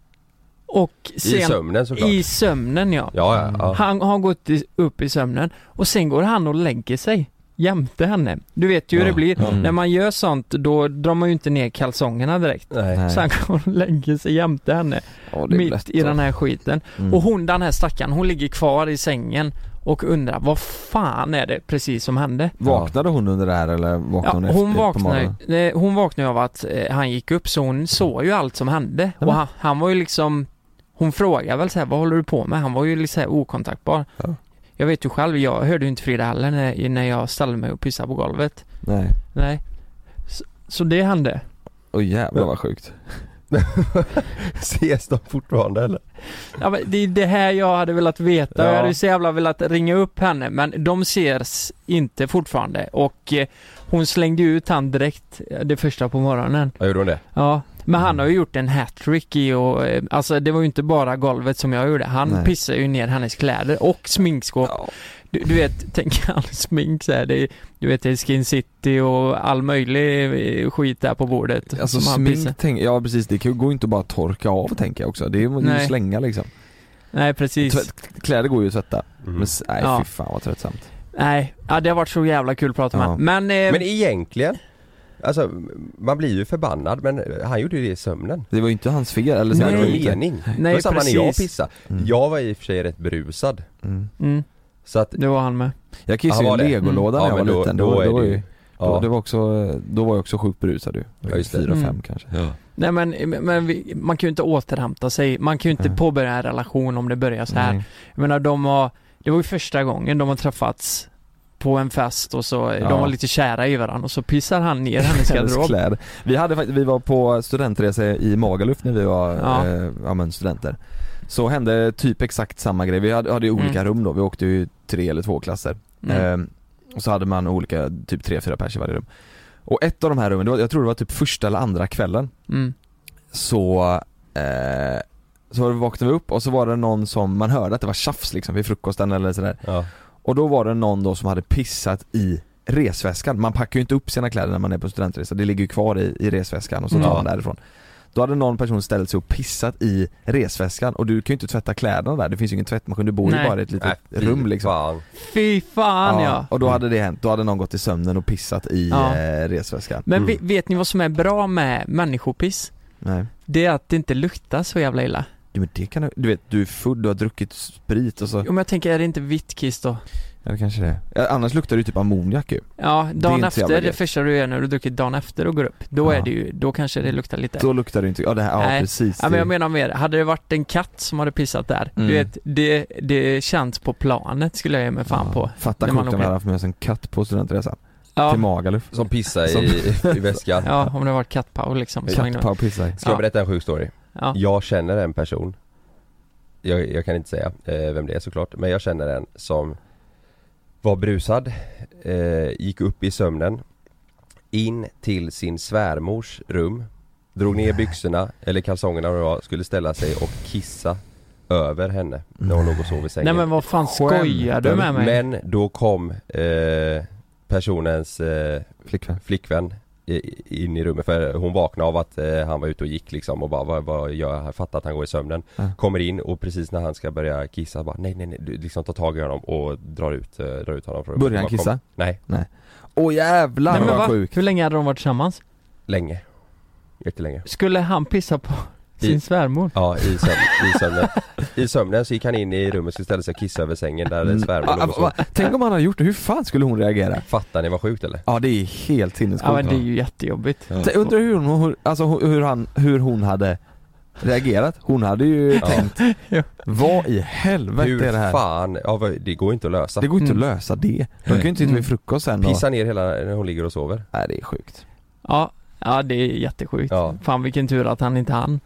S4: Och sen
S6: I sömnen såklart.
S4: i sömnen ja.
S6: Ja ja. ja.
S4: Han har gått i, upp i sömnen och sen går han och lägger sig jämte henne. Du vet ju hur
S6: Ja.
S4: det blir.
S3: Mm.
S4: När man gör sånt då drar man ju inte ner kalsongerna direkt.
S6: Nej.
S3: Nej.
S4: Så han går och lägger sig jämte henne
S3: Ja, det är
S4: mitt
S3: lätt,
S4: i den här skiten.
S3: Mm.
S4: Och hon den här stackaren, hon ligger kvar i sängen och undrar vad fan är det precis som hände?
S3: Vaknade hon under det här eller vaknade
S4: Ja,
S3: hon efter
S4: hon,
S3: på
S4: vaknade,
S3: morgonen?
S4: eh, hon vaknade av att eh, han gick upp så hon såg ju allt som hände. Och han, han var ju liksom Hon frågade väl så här, vad håller du på med? Han var ju lite så här okontaktbar.
S6: Ja.
S4: Jag vet ju själv, jag hörde ju inte Frida heller när, när jag ställde mig och pissade på golvet.
S3: Nej.
S4: Nej. Så, så det hände.
S3: Åh jävlar vad sjukt.
S6: Ses de fortfarande eller?
S4: Ja, men det är det här jag hade velat veta.
S6: Ja.
S4: Jag hade ju så jävla velat ringa upp henne men de ses inte fortfarande och eh, hon slängde ju ut han direkt eh, det första på morgonen.
S6: Ja gjorde hon det?
S4: Ja, men
S3: Mm.
S4: han har ju gjort en hattrick i och, eh, alltså det var ju inte bara golvet som jag gjorde. Han
S3: Nej.
S4: pissade ju ner hennes kläder och sminkskåp.
S3: Ja.
S4: Du, du vet, tänk all smink så här, det är, du vet det är Skin City och all möjlig eh, skit där på bordet.
S3: Alltså
S4: som han pissar.
S3: smink, tänk, ja precis det kan ju- går ju inte att bara torka av tänker jag också. Det är ju
S4: Nej.
S3: att slänga liksom.
S4: Nej precis.
S3: Tvätt, kläder går ju att tvätta. Men
S6: Mm.
S3: s- nej
S4: Ja.
S3: fy fan vad tröttsamt.
S4: Nej, ja, det har varit så jävla kul att prata med
S3: Ja.
S4: Men, eh,
S6: Men egentligen, alltså man blir ju förbannad men han gjorde ju det i sömnen.
S3: Det var ju inte hans fel eller så
S6: det
S3: här,
S6: var
S3: det var ju
S6: ju
S3: inte-
S6: mening.
S4: Nej,
S6: det var samma när jag
S4: precis.
S6: pissade.
S3: Mm.
S6: Jag var i och för sig rätt brusad.
S3: Mm.
S4: mm,
S6: Så att,
S4: det var han med.
S3: Jag
S6: Ja,
S3: kissade
S6: var
S3: ju i
S6: det? Mm.
S3: legolådan när
S6: Ja,
S3: jag var
S6: men då-
S3: liten.
S6: då
S3: Då, då,
S6: är
S3: var
S6: det ju-
S3: ju, då,
S6: ja.
S3: det var också, då var jag också sjukt berusad du.
S6: Ja, just det.
S3: Fyra,
S4: Mm.
S3: fem kanske.
S4: Nej men, men vi, man kan ju inte återhämta sig, man kan ju inte
S3: Nej.
S4: påbörja en relation om det börjar så här.
S3: Nej.
S4: Jag menar de har, det var ju första gången de har träffats på en fest och så,
S3: Ja.
S4: de var lite kära i varandra och så pissar han ner hennes
S3: Hennes
S4: garderob.
S3: kläder. Vi hade faktiskt, vi var på studentresa i Magaluf när vi var,
S4: Ja.
S3: eh, ja men studenter. Så hände typ exakt samma grej, vi hade, hade ju olika rum då, vi åkte ju tre eller två klasser. Ehm,
S4: Mm.
S3: Eh, och så hade man olika, typ tre, fyra pers i varje rum. Och ett av de här rummen, det var, jag tror det var typ första eller andra kvällen
S4: Mm.
S3: så, eh, så vaknade vi upp och så var det någon som, man hörde att det var tjafs liksom vid frukosten eller sådär
S6: Ja.
S3: Och då var det någon då som hade pissat i resväskan, man packar ju inte upp sina kläder när man är på studentresa, det ligger ju kvar i, i resväskan och så tar
S6: Mm.
S3: man därifrån Då hade någon person ställt sig och pissat i resväskan och du kan ju inte tvätta kläderna där, det finns ju ingen tvättmaskin, du bor ju
S4: Nej.
S3: bara i ett litet
S6: Äh, fy
S3: rum liksom
S6: Fan.
S4: Fy fan ja. Mm.
S3: Och då hade det hänt, då hade någon gått i sömnen och pissat i
S4: Ja.
S3: eh, resväskan
S4: Men
S6: Mm.
S4: vi- vet ni vad som är bra med människopiss?
S3: Nej.
S4: Det är att det inte luktar så jävla illa.
S3: Jo, men det kan du, du vet du är full, du har druckit sprit och så
S4: Om jag tänker, är det inte vitt kiss då?
S3: Ja det kanske det är. ja, Annars luktar det ju typ ammoniak ju.
S4: Ja,
S3: Det är
S4: dagen
S3: inte så jävla
S4: efter, det
S3: gött.
S4: första du gör när du druckit dagen efter och går upp,
S3: Ja.
S4: då är det ju, då kanske det luktar lite.
S3: Då luktar det inte, ja det här, ja
S4: Nej.
S3: precis.
S4: Ja, men jag
S3: Det-
S4: menar mer, hade det varit en katt som hade pissat där,
S3: Mm.
S4: du vet, det, det känns på planet skulle jag ge mig fan
S3: Ja,
S4: på.
S3: Fatta
S4: När man
S3: kocken
S4: åker.
S3: hade haft med sig en katt på studentresan. Till
S4: Ja,
S3: Magaluf.
S6: Som pissar
S3: Som-
S6: i, i väskan.
S4: ja om det var kattpaus liksom. så hängde man-
S3: Kattpaw pissar.
S6: Ska jag
S4: Ja.
S6: berätta en sjuk story?
S4: Ja.
S6: Jag känner en person jag, jag kan inte säga eh, vem det är såklart, men jag känner en som var brusad, eh, gick upp i sömnen, in till sin svärmors rum, drog ner byxorna eller kalsongerna vad det var, skulle ställa sig och kissa över henne när hon låg och sov i
S4: Nej
S6: sängen.
S4: men vad fan skojar du med mig?
S6: men då kom eh, personens eh,
S3: Flickvän.
S6: flickvän i- in i rummet för hon vaknade av att eh, han var ute och gick liksom och bara vad, vad gör jag? Jag fattar att han går i sömnen
S3: Ja.
S6: Kommer in och precis när han ska börja kissa bara nej nej nej du liksom tar tag i honom och drar ut, eh, drar ut honom från rummet.
S3: Började han
S6: Bara, kom.
S3: kissa?
S6: Nej,
S3: Åh jävlar
S4: Nej, men
S3: vad
S4: va?
S3: sjukt.
S4: Hur länge hade de varit tillsammans?
S6: länge Jättelänge
S4: Skulle han pissa på
S6: I-
S4: sin svärmor?
S6: Ja i, sömn, i sömnen I sömnen så gick han in i rummet och skulle ställa sig och kissa över sängen där
S3: Mm.
S6: mm. svärmor
S3: Ah,
S6: låg och
S3: va?
S6: sov.
S3: Tänk om han har gjort det, hur fan skulle hon reagera?
S6: Fattar ni vad sjukt eller?
S3: Ja det är helt
S4: Ja
S3: sinnessjukt.
S4: men det är ju jättejobbigt.
S6: Ja.
S3: Tänk- Undrar hur hon, hur, alltså hur- hur han, hur hon hade reagerat. Hon hade ju tänkt,
S4: Ja.
S3: vad i helvete är
S6: Hur
S3: det här?
S6: fan, ja, vad- det går inte att lösa
S3: Det går inte
S4: Mm.
S3: att lösa det. De kan ju inte sitta
S4: Mm.
S3: vid frukost sen och...
S6: Pissa ner hela när hon ligger och sover
S3: Nej det är sjukt.
S4: Ja, ja det är jättesjukt.
S6: Ja.
S4: Fan vilken tur att han inte hann.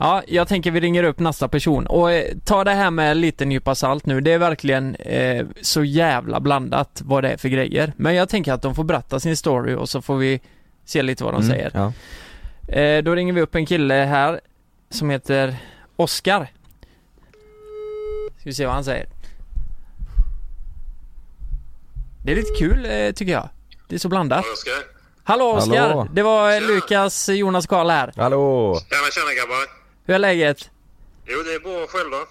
S4: Ja, jag tänker vi ringer upp nästa person och eh, ta det här med en liten nypa salt nu. Det är verkligen eh, så jävla blandat vad det är för grejer. Men jag tänker att de får berätta sin story och så får vi se lite vad de
S3: Mm,
S4: säger.
S3: Ja.
S4: Eh, då ringer vi upp en kille här som heter Oskar. Ska vi se vad han säger. Det är lite kul eh, tycker jag. Det är så blandat.
S7: Oskar?
S4: Hallå Oskar!
S3: Hallå.
S4: Det var eh, Lukas, eh, Jonas Karl här.
S6: Hallå!
S7: Ja men tjena grabbar.
S4: Hur är läget?
S7: Jo det är bra själv då.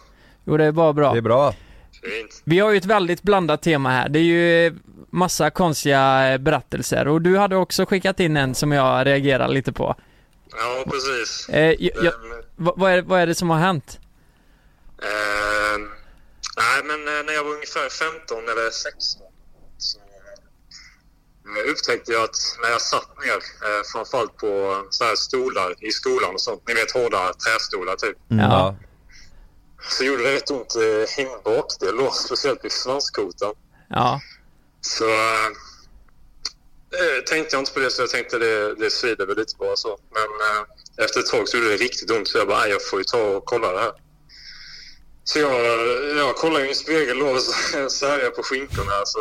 S4: Jo det är bara bra.
S6: Det är bra
S7: Fint.
S4: Vi har ju ett väldigt blandat tema här. Det är ju eh, massa konstiga eh, berättelser och du hade också skickat in en som jag reagerar lite på.
S7: Ja precis.
S4: Eh, jag, jag,
S7: Ehm,
S4: vad, vad är, vad är det som har hänt?
S7: ehm, nej men eh, när jag var ungefär 15 eller 16 så eh, upptäckte jag att när jag satt ner eh, framförallt på så här stolar i skolan och sånt. Ni vet hårda trästolar typ.
S4: Mm.
S6: Ja.
S7: Så gjorde det rätt ont i min bakdel då. Speciellt vid svanskotan.
S4: ja.
S7: Så eh, eh, tänkte jag inte på det så jag tänkte det, det svider väl lite bara så. Men eh, efter ett tag så gjorde det riktigt ont så jag bara, "Nej, jag får ju ta och kolla det här. Så jag, jag kollar i min spegel då och så, så här är jag på skinkorna. Så,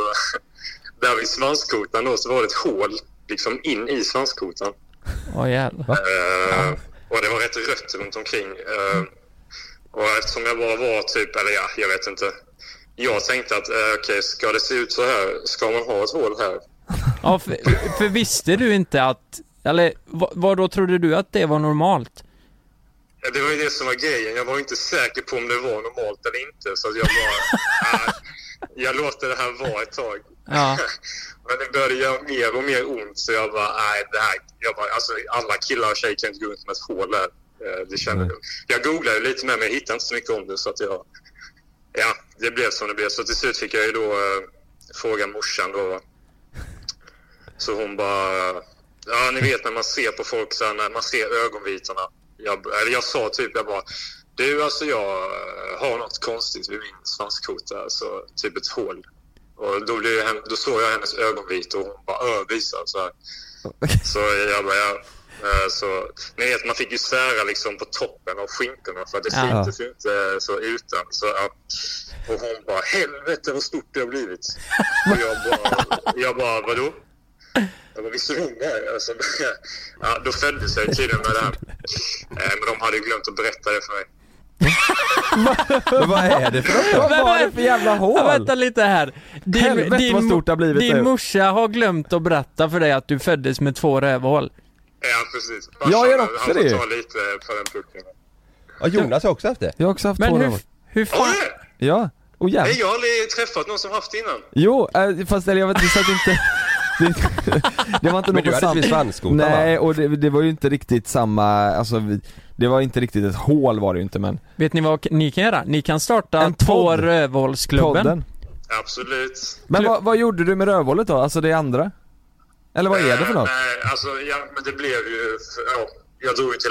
S7: där vid svanskotan då så var det ett hål liksom in i svanskotan.
S4: Åh jävlar.
S7: Eh, och det var rätt rött runt omkring. Eh, och eftersom jag bara var typ, eller ja, jag vet inte. Jag tänkte att eh, okej, ska det se ut så här? Ska man ha ett hål här?
S4: Ja, för, för visste du inte att, eller vad, vad då trodde du att det var normalt?
S7: Ja, Eh, Det var ju det som var grejen. Jag var ju inte säker på om det var normalt eller inte. Så att jag bara, "Ah, jag låter det här vara ett tag.
S4: Ja.
S7: Men det började göra mer och mer ont. Så jag bara, nej det här, jag bara, alltså alla killar och tjejer kan inte gå runt med ett hål där. Eh, Det känner jag. Jag googlade ju lite mer men jag hittade inte så mycket om det så att jag, ja det blev som det blev. Så till slut fick jag ju då eh, fråga morsan då. va. Så hon bara, ja ni vet när man ser på folk så här, när man ser ögonvitorna. Jag, eller jag sa typ, jag bara, du alltså jag eh, har något konstigt vid min svanskota, alltså typ ett hål. Och då, blev jag, hen- då såg jag hennes ögonvitor och hon bara övisar så här. Så jag bara, ja. eh, Så, ni vet, man fick ju sära liksom på toppen av skinkorna för att det
S4: Ja.
S7: syntes ju inte så utan. Så, ja. Och hon bara, helvete vad stort det har blivit. Och jag bara, jag bara vadå? Jag bara, visste du om det här? Alltså, ja, då föddes jag tydligen med det här. Eh, Men de hade ju glömt att berätta det för mig.
S6: Men vad är det för
S3: Vad var det för jävla hål?
S4: Ja, vänta lite här. Din,
S3: Helvete, vad
S4: mo-
S3: stort det har blivit
S4: din
S3: nu.
S4: morsa har glömt att berätta för dig att du föddes med två rövhål.
S7: Ja, precis.
S3: Jag gör
S7: Farsan,
S3: också
S7: han får
S3: det.
S7: ta lite eh, på den pucken.
S6: Ja Jonas har också haft det.
S3: Jag har också haft
S4: Men
S3: två
S4: hur,
S3: rövhål.
S4: hur
S7: Har
S4: fan...
S7: du det?
S3: Ja. Och jävlar.
S7: Nej, jag har aldrig träffat någon som haft det innan.
S3: Jo, eh, fast eller jag vet inte, inte det, det var inte något
S6: Men du hade
S3: sam-
S6: precis svanskotan
S3: Nej,
S6: va?
S3: och det, det var ju inte riktigt samma, alltså vi- det var inte riktigt ett hål var det ju inte men
S4: Vet ni vad ni kan göra? Ni kan starta
S3: En
S4: Två
S3: podd.
S4: rövhålsklubben.
S3: podden.
S7: Absolut.
S3: Men vad, vad gjorde du med rövhålet då? Alltså det andra? Eller vad är det för något?
S7: Eh, Nej, alltså, ja, men det blev ju... Ja, jag drog ju till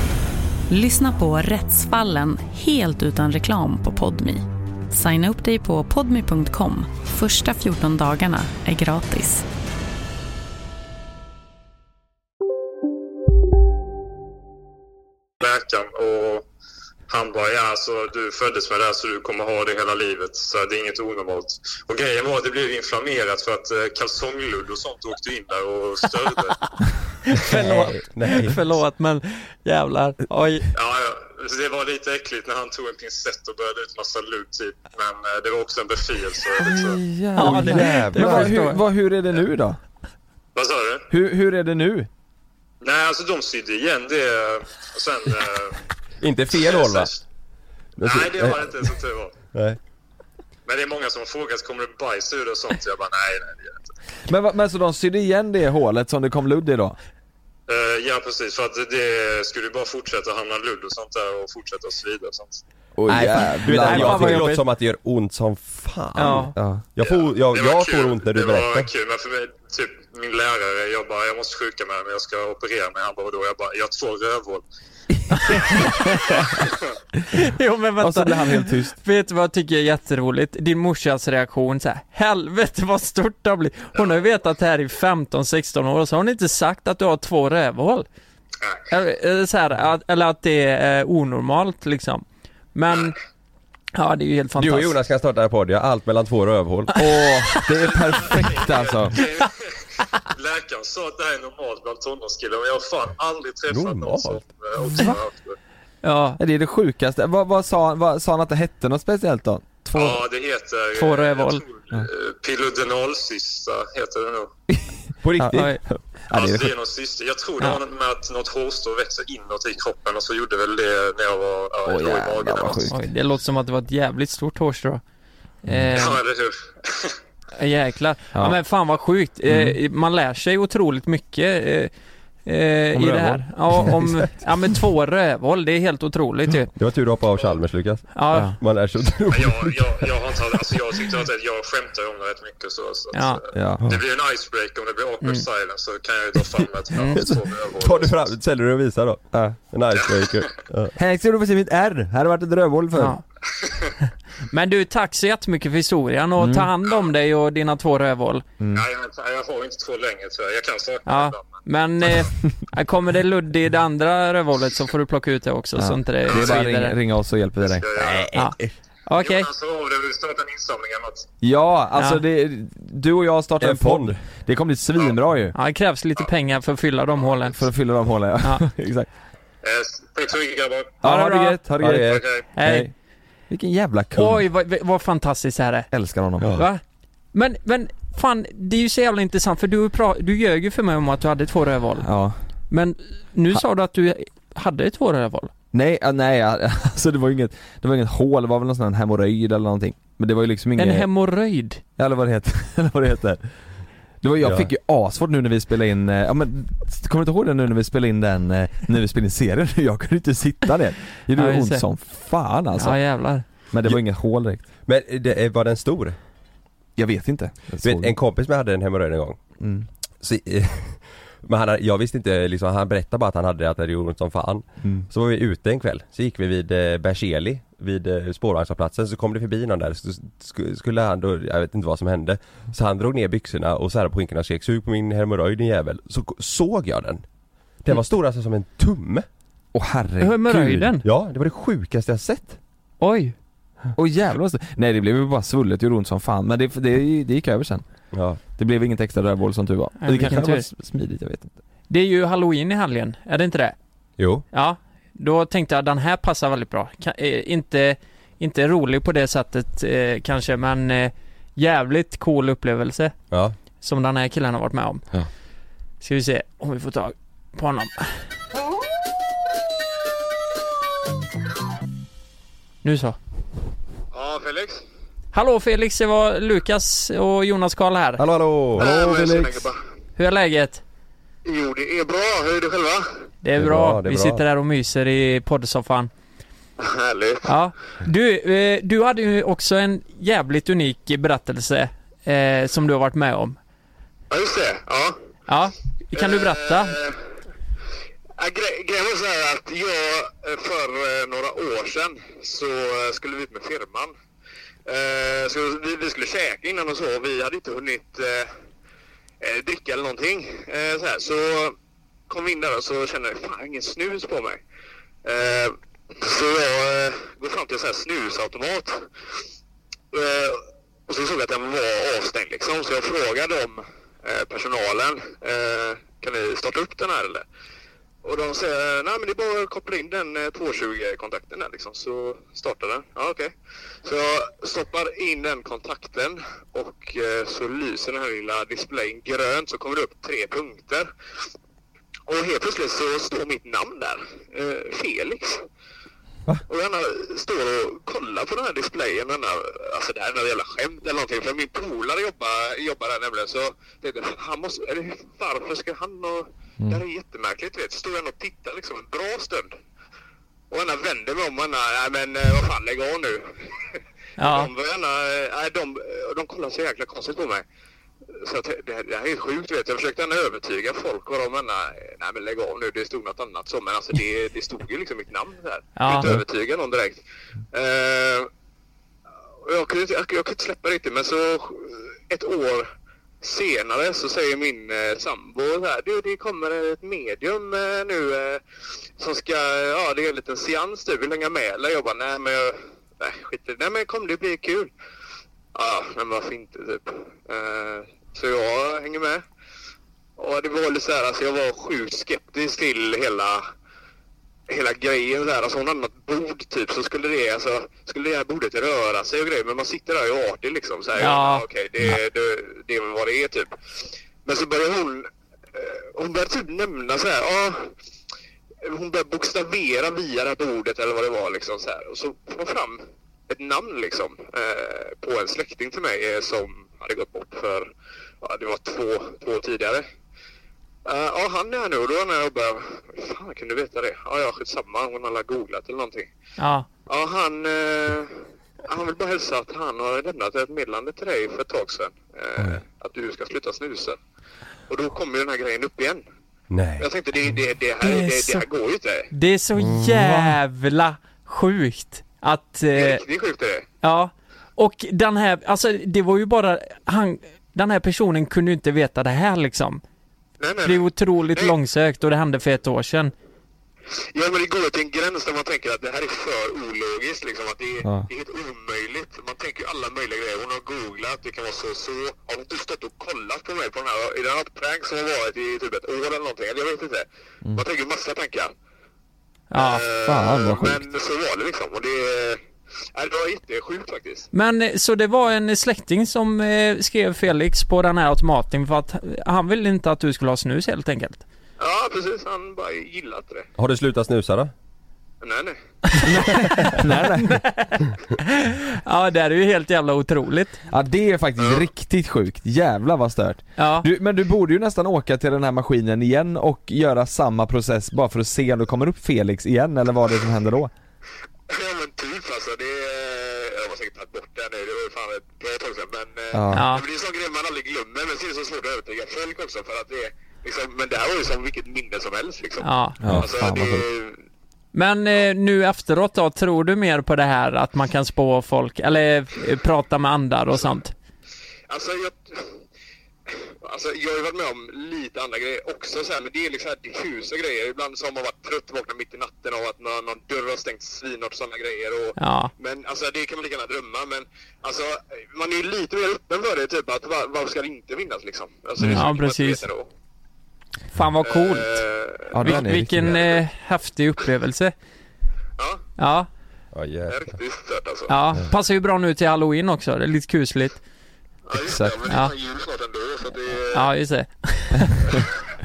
S8: Lyssna på Rättsfallen helt utan reklam på Podmi. Signa upp dig på podmi.com. Första 14 dagarna är gratis.
S7: läkaren och han bara, ja alltså du föddes med det här så du kommer ha det hela livet. Så det är inget onormalt. Och grejen var att det blev inflammerat för att eh, kalsongludd och sånt åkte in där och störde.
S4: Förlåt.
S6: Nej.
S4: Förlåt men jävlar. Oj.
S7: ja, ja. Så det var lite äckligt när han tog en pincett och började ut massa ludd typ. Men eh, det var också en befrielse. Liksom.
S4: Ja, det,
S6: jävlar.
S4: det
S3: Men
S4: var
S3: vad, hur,
S4: hur,
S3: vad, hur är det nu då?
S7: Vad sa du?
S3: Hur, hur är det nu?
S7: Nej, alltså de sydde igen det. eh, Och sen... eh,
S6: Inte fel håll va?
S7: Nej, det var det inte som tur var.
S6: Nej.
S7: Men det är många som har frågat, kommer det bajs ur det och sånt? Så jag bara, nej, nej det gör det inte.
S3: Men, vad- men så de sydde igen det hålet som det kom ludd i då?
S7: Eh, ja, precis. För att det- det skulle ju bara fortsätta hamna ludd och sånt där och fortsätta och svida och sånt.
S3: Åh
S6: Nej, fan. du vet,
S4: Nej, fan
S6: jag tycker
S4: vad
S6: det låter
S4: jobbigt.
S6: som att det gör ont som fan.
S4: Ja.
S3: Ja.
S6: Jag får, jag,
S7: Det var
S6: jag
S7: kul.
S6: får ont när du
S7: det
S6: berättar.
S7: var kul, men för mig, typ min lärare, jag bara, jag måste sjuka mig men jag ska operera mig. Han bara, då? Jag bara, jag har två rövhål.
S4: jo men
S3: Och så
S4: vänta.
S3: blev han helt tyst.
S4: Vet du vad jag tycker är jätteroligt? Din morsas reaktion så här. helvete vad stort det har blivit. Hon har ju vetat det här i 15-16 år och så har hon inte sagt att du har två rövhål. Eller, eller så här, att, eller att det är eh, onormalt liksom. Men, ja det är ju helt
S6: Du och
S4: fantastiskt.
S6: Jonas kan starta en podd, jag har allt mellan två rövhål.
S3: Åh, det är perfekt alltså.
S7: Läkaren sa att det här är normalt bland tonårskillar, men jag har fan aldrig träffat någon
S6: Normalt?
S7: som eh, också har haft det.
S4: Ja,
S3: Det är det sjukaste. Vad, vad, sa, han- vad sa han att det hette något speciellt då? Två...
S7: Ja, det heter... eh,
S4: Två rövhål.
S7: jag tror, eh, Pilodenalcysta heter det nog.
S6: På riktigt.
S4: oj.
S3: Ja, det är
S7: alltså,
S3: det
S7: det är någon syster. Jag tror det
S4: Ja.
S7: har något med att något hårstrå växer inåt i kroppen och så gjorde väl det när jag var ja,
S3: Åh,
S7: då i
S3: jävlar,
S7: magen.
S3: vad
S7: eller något.
S3: sjukt.
S4: Oj, det låter som att det var ett jävligt stort hårstrå. Eh,
S7: Ja, eller hur?
S4: jäklar. Ja.
S3: Ja.
S4: men fan vad sjukt. Eh, Man lär sig otroligt mycket eh, eh,
S3: Om
S4: i det
S3: rövhål.
S4: här. Ja, om, ja men två rövhål, det är helt otroligt ju.
S6: Det var tur du hoppade av Chalmers Lukas.
S4: Ja,
S6: Man lär sig otroligt.
S7: Jag, jag, jag har inte alltså jag tyckte att jag skämtar ju om det rätt mycket så, så att,
S4: Ja. Mm.
S7: eh,
S3: Ja.
S7: Det blir en icebreaker om det blir awkward silence så kan jag ju ta fram ett mm.
S6: Tar du fram, säljer du och visar då? En icebreaker. Ja.
S3: Här ser du precis mitt R. Här har varit ett rövhål för.
S4: ja. Men du, tack så jättemycket för historien och
S7: Mm.
S4: ta hand om dig och dina två rövhål.
S7: Nej, jag, jag har inte två längre tyvärr. Jag kan sakna
S4: Ja, men eh, kommer det ludd i det andra rövhålet så får du plocka ut det också
S3: Ja.
S4: så inte det,
S3: Det är bara att
S4: svider.
S3: ringa, ringa oss och hjälper vi dig.
S4: Ja.
S6: Eh,
S4: Okej.
S7: Jonas, hör av dig. Vill du starta en insamling eller något?
S3: Ja, alltså
S4: Ja.
S3: Det, du och jag startar en,
S4: En
S3: podd. Det kommer bli svinbra ju.
S4: Ja, det krävs lite pengar för att fylla de hålen.
S3: För att fylla de hålen, ja. Exakt.
S7: Eh, tack så mycket grabbar.
S3: Ja, ha det gött, ha det gött.
S7: Okej.
S4: Hej.
S3: Vilken jävla kung.
S4: Oj, vad, vad fantastiskt det här är.
S3: Älskar honom.
S4: Va? Men, men fan, det är ju så jävla intressant för du, pra- du ljög ju för mig om att du hade två rövhål.
S3: Ja.
S4: Men nu sa du att du hade två rövhål.
S3: Nej, ah, nej ja, alltså det var ju inget, det var inget hål, det var väl någon sån här hemorrojd eller någonting. Men det var ju liksom inget...
S4: En hemorrojd.
S3: Ja, eller vad det heter, eller vad det heter. Det var, jag
S4: Ja.
S3: fick ju assvårt nu när vi spelade in, eh, ja men kommer du inte ihåg det nu när vi spelade in den, eh, när vi spelade in serien? Jag kunde inte sitta ner. Det gjorde
S6: Ja, just
S3: ont
S6: det.
S3: som fan alltså.
S6: Ja, jävlar.
S3: Men det var inget hål direkt.
S6: Men det, var den stor?
S3: Jag vet inte.
S6: Du vet, en kompis med hade en hemorrojd en gång.
S3: Mm.
S6: Så, eh, men han, hade- jag visste inte liksom, han berättade bara att han hade det, att det gjorde ont som fan.
S3: Mm.
S6: Så var vi ute en kväll, så gick vi vid eh, Berzelii, vid eh, spårvagnshållplatsen, så kom det förbi någon där, så sk- skulle han då, jag vet inte vad som hände. Så han drog ner byxorna och så här på skinkorna och skrek 'Sug på min hemorrojd din jävel' Så k- såg jag den. Den var stor alltså som en tumme.
S3: Åh herregud.
S4: Hemorrojden?
S6: Ja, det var det sjukaste jag sett.
S4: Oj.
S3: Åh jävlar vad- Nej det blev ju bara svullet, det gjorde ont som fan. Men det, det, det gick över sen.
S6: Ja.
S3: Det blev inget extra rövhål som tur var.
S4: Nej,
S3: det
S4: vilken
S3: kanske hade
S4: tur.
S3: varit smidigt, jag vet inte.
S4: Det är ju halloween i helgen, är det inte det?
S6: Jo.
S4: Ja, då tänkte jag den här passar väldigt bra. Ka- eh, inte, inte rolig på det sättet eh, kanske, men eh, jävligt cool upplevelse.
S6: Ja.
S4: Som den här killen har varit med om.
S6: Ja.
S4: Ska vi se om vi får tag på honom. Nu så.
S7: Ja, Felix.
S4: Hallå Felix, det var Lukas och Jonas Karl här.
S6: Hallå hallå!
S7: Hallå, vad är det som Felix. hänger på?
S4: Hur är läget?
S7: Jo, det är bra. Hur är det själva?
S4: Det är, bra. Vi sitter här och myser i poddsoffan.
S7: Härligt.
S4: Ja. Du, eh, du hade ju också en jävligt unik berättelse eh, som du har varit med om.
S7: Ja, just det. Ja.
S4: Ja, kan du berätta?
S7: Eh, ja, gre- Grejen var så här att jag eh, för eh, några år sedan så eh, skulle vi ut med firman. Eh, Så vi, vi skulle käka innan och så. Vi hade inte hunnit eh, eh, dricka eller någonting. Eh, Så, här. så kom vi in där och så kände jag fan ingen snus på mig. Eh, Så jag eh, går fram till en sån här snusautomat. Eh, Och så såg jag att den var avstängd liksom. Så jag frågade om eh, personalen. Eh, kan ni starta upp den här eller? Och de säger, nej men det är bara att koppla in den eh, 220-kontakten där liksom, så startar den. Ja, okej. Så jag stoppar in den kontakten och eh, så lyser den här lilla displayen grönt så kommer det upp tre punkter. Och helt plötsligt så står mitt namn där, eh, Felix. Och den här står och kollar på den här displayen. Den här, alltså det här är något jävla skämt eller någonting. För min polare jobbar, jobbar där nämligen. Så tänkte jag, han måste, eller, hur- varför ska han och... Det här är jättemärkligt vet. Står han och tittar liksom en bra stund. Och han vänder mig om och han, nej men eh, vad fan lägg av nu.
S4: Ja.
S7: De, gärna, nej, de, de kollar så jäkla konstigt på mig. Så att, det, här- det här är helt sjukt vet. Jag försökte ändå övertyga folk och de menar, nej men lägg av nu, det stod något annat så. Men alltså det, det stod ju liksom mitt namn där. Jag kunde
S4: Ja.
S7: inte övertyga någon direkt. Eh, och jag, kunde, inte- jag, jag kunde inte släppa det riktigt men så eh, ett år senare så säger min eh, sambo så här, du det kommer ett medium eh, nu eh, som ska, ja det är en liten seans du, vill du hänga med eller? Jag bara, nej men jag, nej skit i det, nej men kom det blir kul. Ja, men varför inte typ. Eh, så jag hänger med. Och det var lite så här, alltså jag var sjukt skeptisk till hela, hela grejen där. Alltså hon hade något bord typ så skulle det, alltså, skulle det här bordet röra sig och grejer. Men man sitter där och är artig liksom. Så här,
S4: Ja.
S7: ja. Okej, det, det, det är väl vad det är typ. Men så började hon, eh, hon började typ nämna så här, ja. Hon började bokstavera via det här bordet eller vad det var liksom så här. Och så kom hon fram ett namn liksom eh, på en släkting till mig eh, som hade gått bort för, ja, det var två, två år tidigare. Eh, Ja, han är här nu och då när jag bara, "Hur fan kan du veta det? Ja, ja, skitsamma, hon har väl googlat eller någonting.
S4: Ja.
S7: Ja, han, eh, han vill bara hälsa att han har lämnat ett meddelande till dig för ett tag sedan. Eh, att du ska sluta snusa. Och då kommer ju den här grejen upp igen.
S6: Nej.
S4: Mm.
S7: Jag tänkte det, det, det, här, det, det här går ju inte.
S4: Det är så jävla sjukt. Att... eh,
S7: Det är riktigt sjukt det.
S4: Ja, och den här, alltså det var ju bara, han, den här personen kunde ju inte veta det här liksom.
S7: Nej, nej,
S4: Det är
S7: nej.
S4: otroligt långsökt och det hände för ett år sedan.
S7: Ja, men det går till en gräns där man tänker att det här är för ologiskt. Liksom, att det, är,
S4: Ja.
S7: det är helt omöjligt. Man tänker ju alla möjliga grejer. Hon har googlat, det kan vara så så. Har hon inte stått och kollat på mig på den här? Är det något prank som har varit i typ ett år eller någonting? Eller jag vet inte. Man tänker massa tankar. Eh,
S4: Ja, Mm. fan vad sjukt.
S7: Men så var det liksom. Och det, nej, det var jättesjukt faktiskt.
S4: Men eh, så det var en släkting som eh, skrev Felix på den här automaten för att han ville inte att du skulle ha snus helt enkelt.
S7: Ja, precis. Han bara gillade inte det.
S6: Har du slutat snusa då?
S7: Nej, nej.
S4: nej, nej. ja, det här är ju helt jävla otroligt.
S3: Ja det är faktiskt riktigt sjukt, jävlar vad stört.
S4: Ja.
S3: Du, men du borde ju nästan åka till den här maskinen igen och göra samma process bara för att se om det kommer upp Felix igen eller vad det är som händer då.
S7: Ja men typ alltså, det... Jag har säkert tagit bort det nu, det var ju fan ett bra tag sedan. Men, eh,
S3: Ja.
S7: men det är en sån grej man aldrig glömmer, men så är det så svårt att övertyga folk också för att det är... Liksom, men det här var ju som vilket minne som helst liksom.
S4: Ja. Ja,
S7: alltså,
S4: fan,
S7: det,
S4: vad Men eh, nu efteråt då, tror du mer på det här att man kan spå folk, eller eh, prata med andar och sånt?
S7: alltså jag... Alltså jag har ju varit med om lite andra grejer också så här, men det är liksom här diffusa grejer. Ibland så har man varit trött, vaknat mitt i natten av att någon, någon dörr har stängt svinhårt sådana grejer. Och,
S4: Ja.
S7: Men alltså det kan man lika gärna drömma men alltså man är ju lite mer öppen för det typ att var, varför ska det inte finnas liksom? Alltså, det är så
S4: Ja,
S7: mycket man inte
S4: precis.
S7: vet ändå.
S4: Fan vad coolt.
S7: Eh,
S3: Ja, den är
S4: Vil-
S3: riktigt
S4: vilken eh, häftig upplevelse.
S7: Ja.
S4: Ja.
S6: Ja jävlar.
S7: Riktigt stört alltså.
S4: Ja, passar ju bra nu till halloween också. Det är lite kusligt.
S3: Exakt.
S4: Ja, ja just det.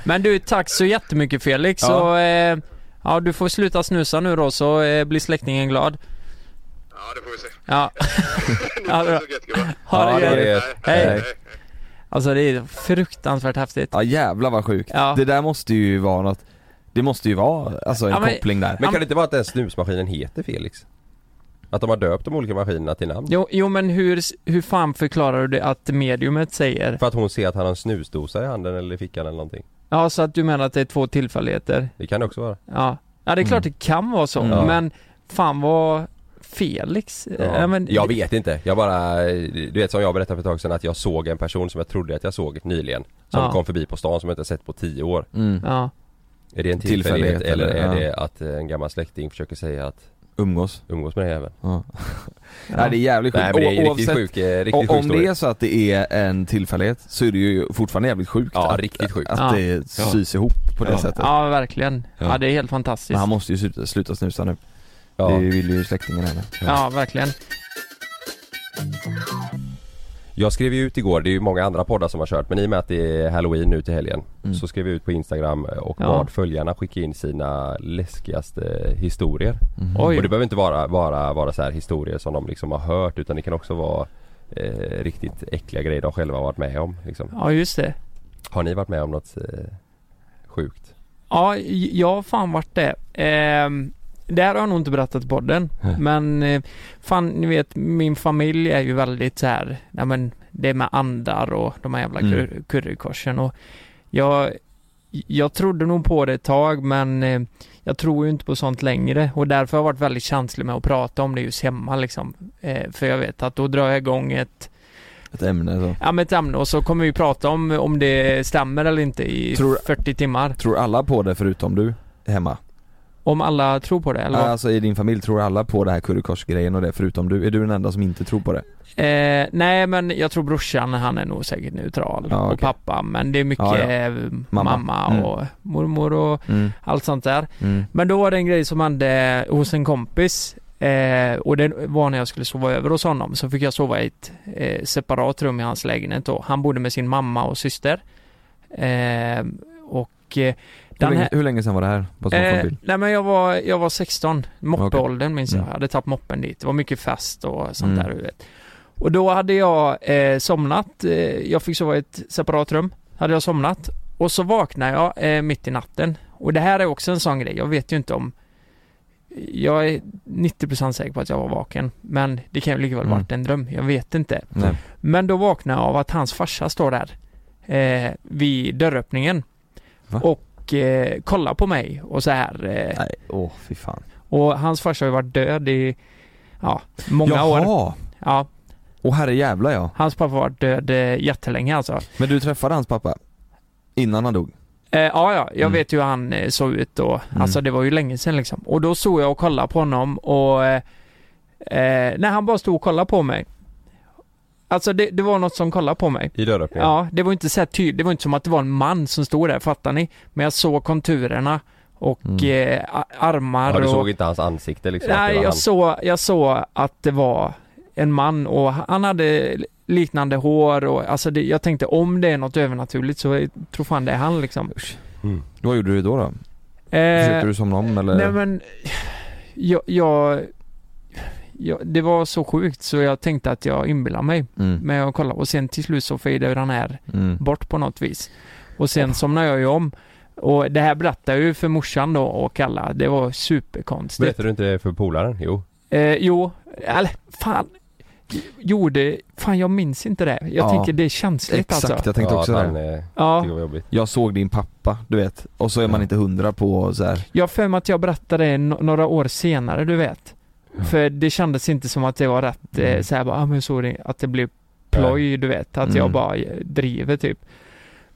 S4: Men du, tack så jättemycket Felix.
S3: Ja.
S4: Och, eh, ja, du får sluta snusa nu då så eh, blir släktingen glad.
S7: Ja, det får vi se.
S4: Ja. ja, det är bra. ha
S3: Ja,
S4: det
S3: det är
S4: gött.
S3: gött.
S4: Hej.
S3: Hej.
S4: Alltså det är fruktansvärt häftigt.
S3: Ja jävlar vad sjukt.
S4: Ja.
S3: Det där måste ju vara något, det måste ju vara alltså en
S4: Ja, men-
S3: koppling där.
S6: Men kan det inte vara att den snusmaskinen heter Felix? Att de har döpt de olika maskinerna till namn?
S4: Jo, jo men hur, hur fan förklarar du det att mediumet säger?
S6: För att hon ser att han har en snusdosa i handen eller i fickan eller någonting.
S4: Ja, så att du menar att det är två tillfälligheter?
S6: Det kan det också vara.
S4: Ja, ja det är klart det kan vara så,
S6: Mm.
S4: men fan vad Felix?
S6: Ja.
S4: Ja, men,
S6: jag vet inte. Jag bara, du vet som jag berättade för ett tag sedan att jag såg en person som jag trodde att jag såg nyligen. Som
S4: Ja.
S6: kom förbi på stan som jag inte sett på tio år.
S3: Mm.
S4: Ja,
S6: Är det en
S3: Tillfällighet
S6: tillfällighet eller är
S3: eller- ja.
S6: det att en gammal släkting försöker säga att
S3: Umgås.
S6: umgås med den här jäveln?
S3: Ja. Nej det är jävligt sjukt.
S6: Nej men det är
S3: O-
S6: ju riktigt sjuk, eh, riktigt
S3: o-
S6: sjuk
S3: om det
S6: story.
S3: är så att det är en tillfällighet så är det ju fortfarande jävligt sjukt
S6: Ja,
S3: att,
S6: riktigt sjukt.
S3: att
S4: Ja.
S3: det sys ihop på det
S6: Ja.
S3: sättet.
S4: ja verkligen. Ja.
S6: Ja.
S4: det är helt fantastiskt.
S3: Men han måste ju sluta, sluta snusa nu.
S6: Ja.
S3: Det vill ju släktingen henne.
S4: Ja, verkligen.
S6: Jag skrev ju ut igår, det är ju många andra poddar som har kört men i och med att det är halloween nu till helgen
S3: Mm.
S6: Så skrev jag ut på Instagram eh, och
S4: Ja.
S6: bad följarna skicka in sina läskigaste historier
S4: Oj.
S6: Och det behöver inte vara, bara vara så här historier som de liksom har hört utan det kan också vara eh, riktigt äckliga grejer de själva har varit med om liksom.
S4: Ja, just det.
S6: Har ni varit med om något eh, sjukt?
S4: Ja, j- jag har fan varit det. Ehm, det här har jag nog inte berättat på podden. Men eh, fan, ni vet min familj är ju väldigt så här, ja men det är med andar och de här jävla
S3: Mm.
S4: kur- currykorsen och jag, jag trodde nog på det ett tag men eh, jag tror ju inte på sånt längre och därför har jag varit väldigt känslig med att prata om det just hemma liksom. Eh, för jag vet att då drar jag igång ett,
S3: Ett ämne så.
S4: ja men ett ämne och så kommer vi prata om, om det stämmer eller inte i
S3: Tror-
S4: 40 timmar.
S3: Tror alla på det förutom du? Hemma?
S4: Om alla tror på det eller? vad?
S3: Alltså i din familj tror alla på det här currykorsgrejen och det förutom du? Är du den enda som inte tror på det?
S4: Eh, nej men jag tror brorsan han är nog säkert neutral
S3: Ja,
S4: och
S3: okej.
S4: pappa men det är mycket
S3: Ja, ja.
S4: eh, mamma,
S3: Mamma. Mm.
S4: och mormor och
S3: Mm.
S4: allt sånt där.
S3: Mm.
S4: Men då var det en grej som hände hos en kompis eh, och det var när jag skulle sova över hos honom så fick jag sova i ett eh, separat rum i hans lägenhet då. Han bodde med sin mamma och syster. Eh, och eh,
S3: Hur,
S4: den
S3: länge,
S4: här-
S3: hur länge sedan var det här? Bara så man får en
S4: Eh,
S3: bild.
S4: nej men jag var, jag var 16, moppeåldern minns jag.
S3: Mm.
S4: Jag hade tagit moppen dit. Det var mycket fest och sånt
S3: Mm.
S4: där du vet. Och då hade jag eh, somnat. Eh, jag fick sova i ett separat rum. Hade jag somnat. Och så vaknade jag eh, mitt i natten. Och det här är också en sån grej. Jag vet ju inte om... Jag är 90% säker på att jag var vaken. Men det kan ju lika väl
S3: Mm.
S4: varit en dröm. Jag vet inte.
S3: Nej.
S4: Men då vaknade jag av att hans farsa står där eh, vid dörröppningen
S3: Va?
S4: och eh, kollar på mig och så här. Eh,
S3: Nej, åh fy fan.
S4: och hans farsa har ju varit död i ja, många år.
S3: Jaha.
S4: Ja,
S3: Och herre jävla ja.
S4: hans pappa var död eh, jättelänge alltså.
S3: Men du träffade hans pappa? Innan han dog?
S4: Eh, ja, ja,
S3: Mm.
S4: jag vet ju hur han eh, såg ut då. Alltså det var ju länge sedan liksom. Och då såg jag och kollade på honom och... Eh, eh, nej, han bara stod och kollade på mig. Alltså det, det var något som kollade på mig.
S6: I dörröppningen?
S4: Ja, det var inte så här tydligt. Det var inte som att det var en man som stod där, fattar ni? Men jag såg konturerna och eh, a- armar
S6: Mm. Ja, du
S4: och...
S6: såg inte hans ansikte liksom? att det
S4: Nej,
S6: var
S4: jag
S6: han.
S4: såg, jag såg att det var en man och han hade liknande hår och alltså det, jag tänkte om det är något övernaturligt så jag tror fan det är han liksom.
S6: Mm.
S3: Vad gjorde du då? då?
S4: Eh,
S3: Försökte du somna om eller?
S4: nej men, jag, jag, jag, det var så sjukt så jag tänkte att jag inbillar mig.
S3: Mm.
S4: Men jag kollade och sen till slut så fejdade den här
S3: Mm.
S4: bort på något vis. Och sen somnade jag ju om. Och det här berättade jag ju för morsan då och Kalla. Det var superkonstigt.
S6: Berättade du inte det för polaren? Jo.
S4: Eh, jo, eller fan. Gjorde, fan jag minns inte det. Jag
S3: Ja.
S4: tänker det är känsligt
S3: Exakt,
S4: alltså.
S3: jag tänkte
S6: ja,
S3: också
S6: att
S3: det.
S6: han, eh,
S4: Ja,
S6: tyckte det var jobbigt.
S3: Jag såg din pappa, du vet. Och så är man inte hundra på så här.
S4: jag har för mig att jag berättade det no- några år senare, du vet. För det kändes inte som att det var rätt, eh,
S3: Mm.
S4: så här bara, ah, men sorry, att det blev
S6: Eh,
S4: ploj, du vet. Att jag
S3: Mm.
S4: bara eh, driver typ.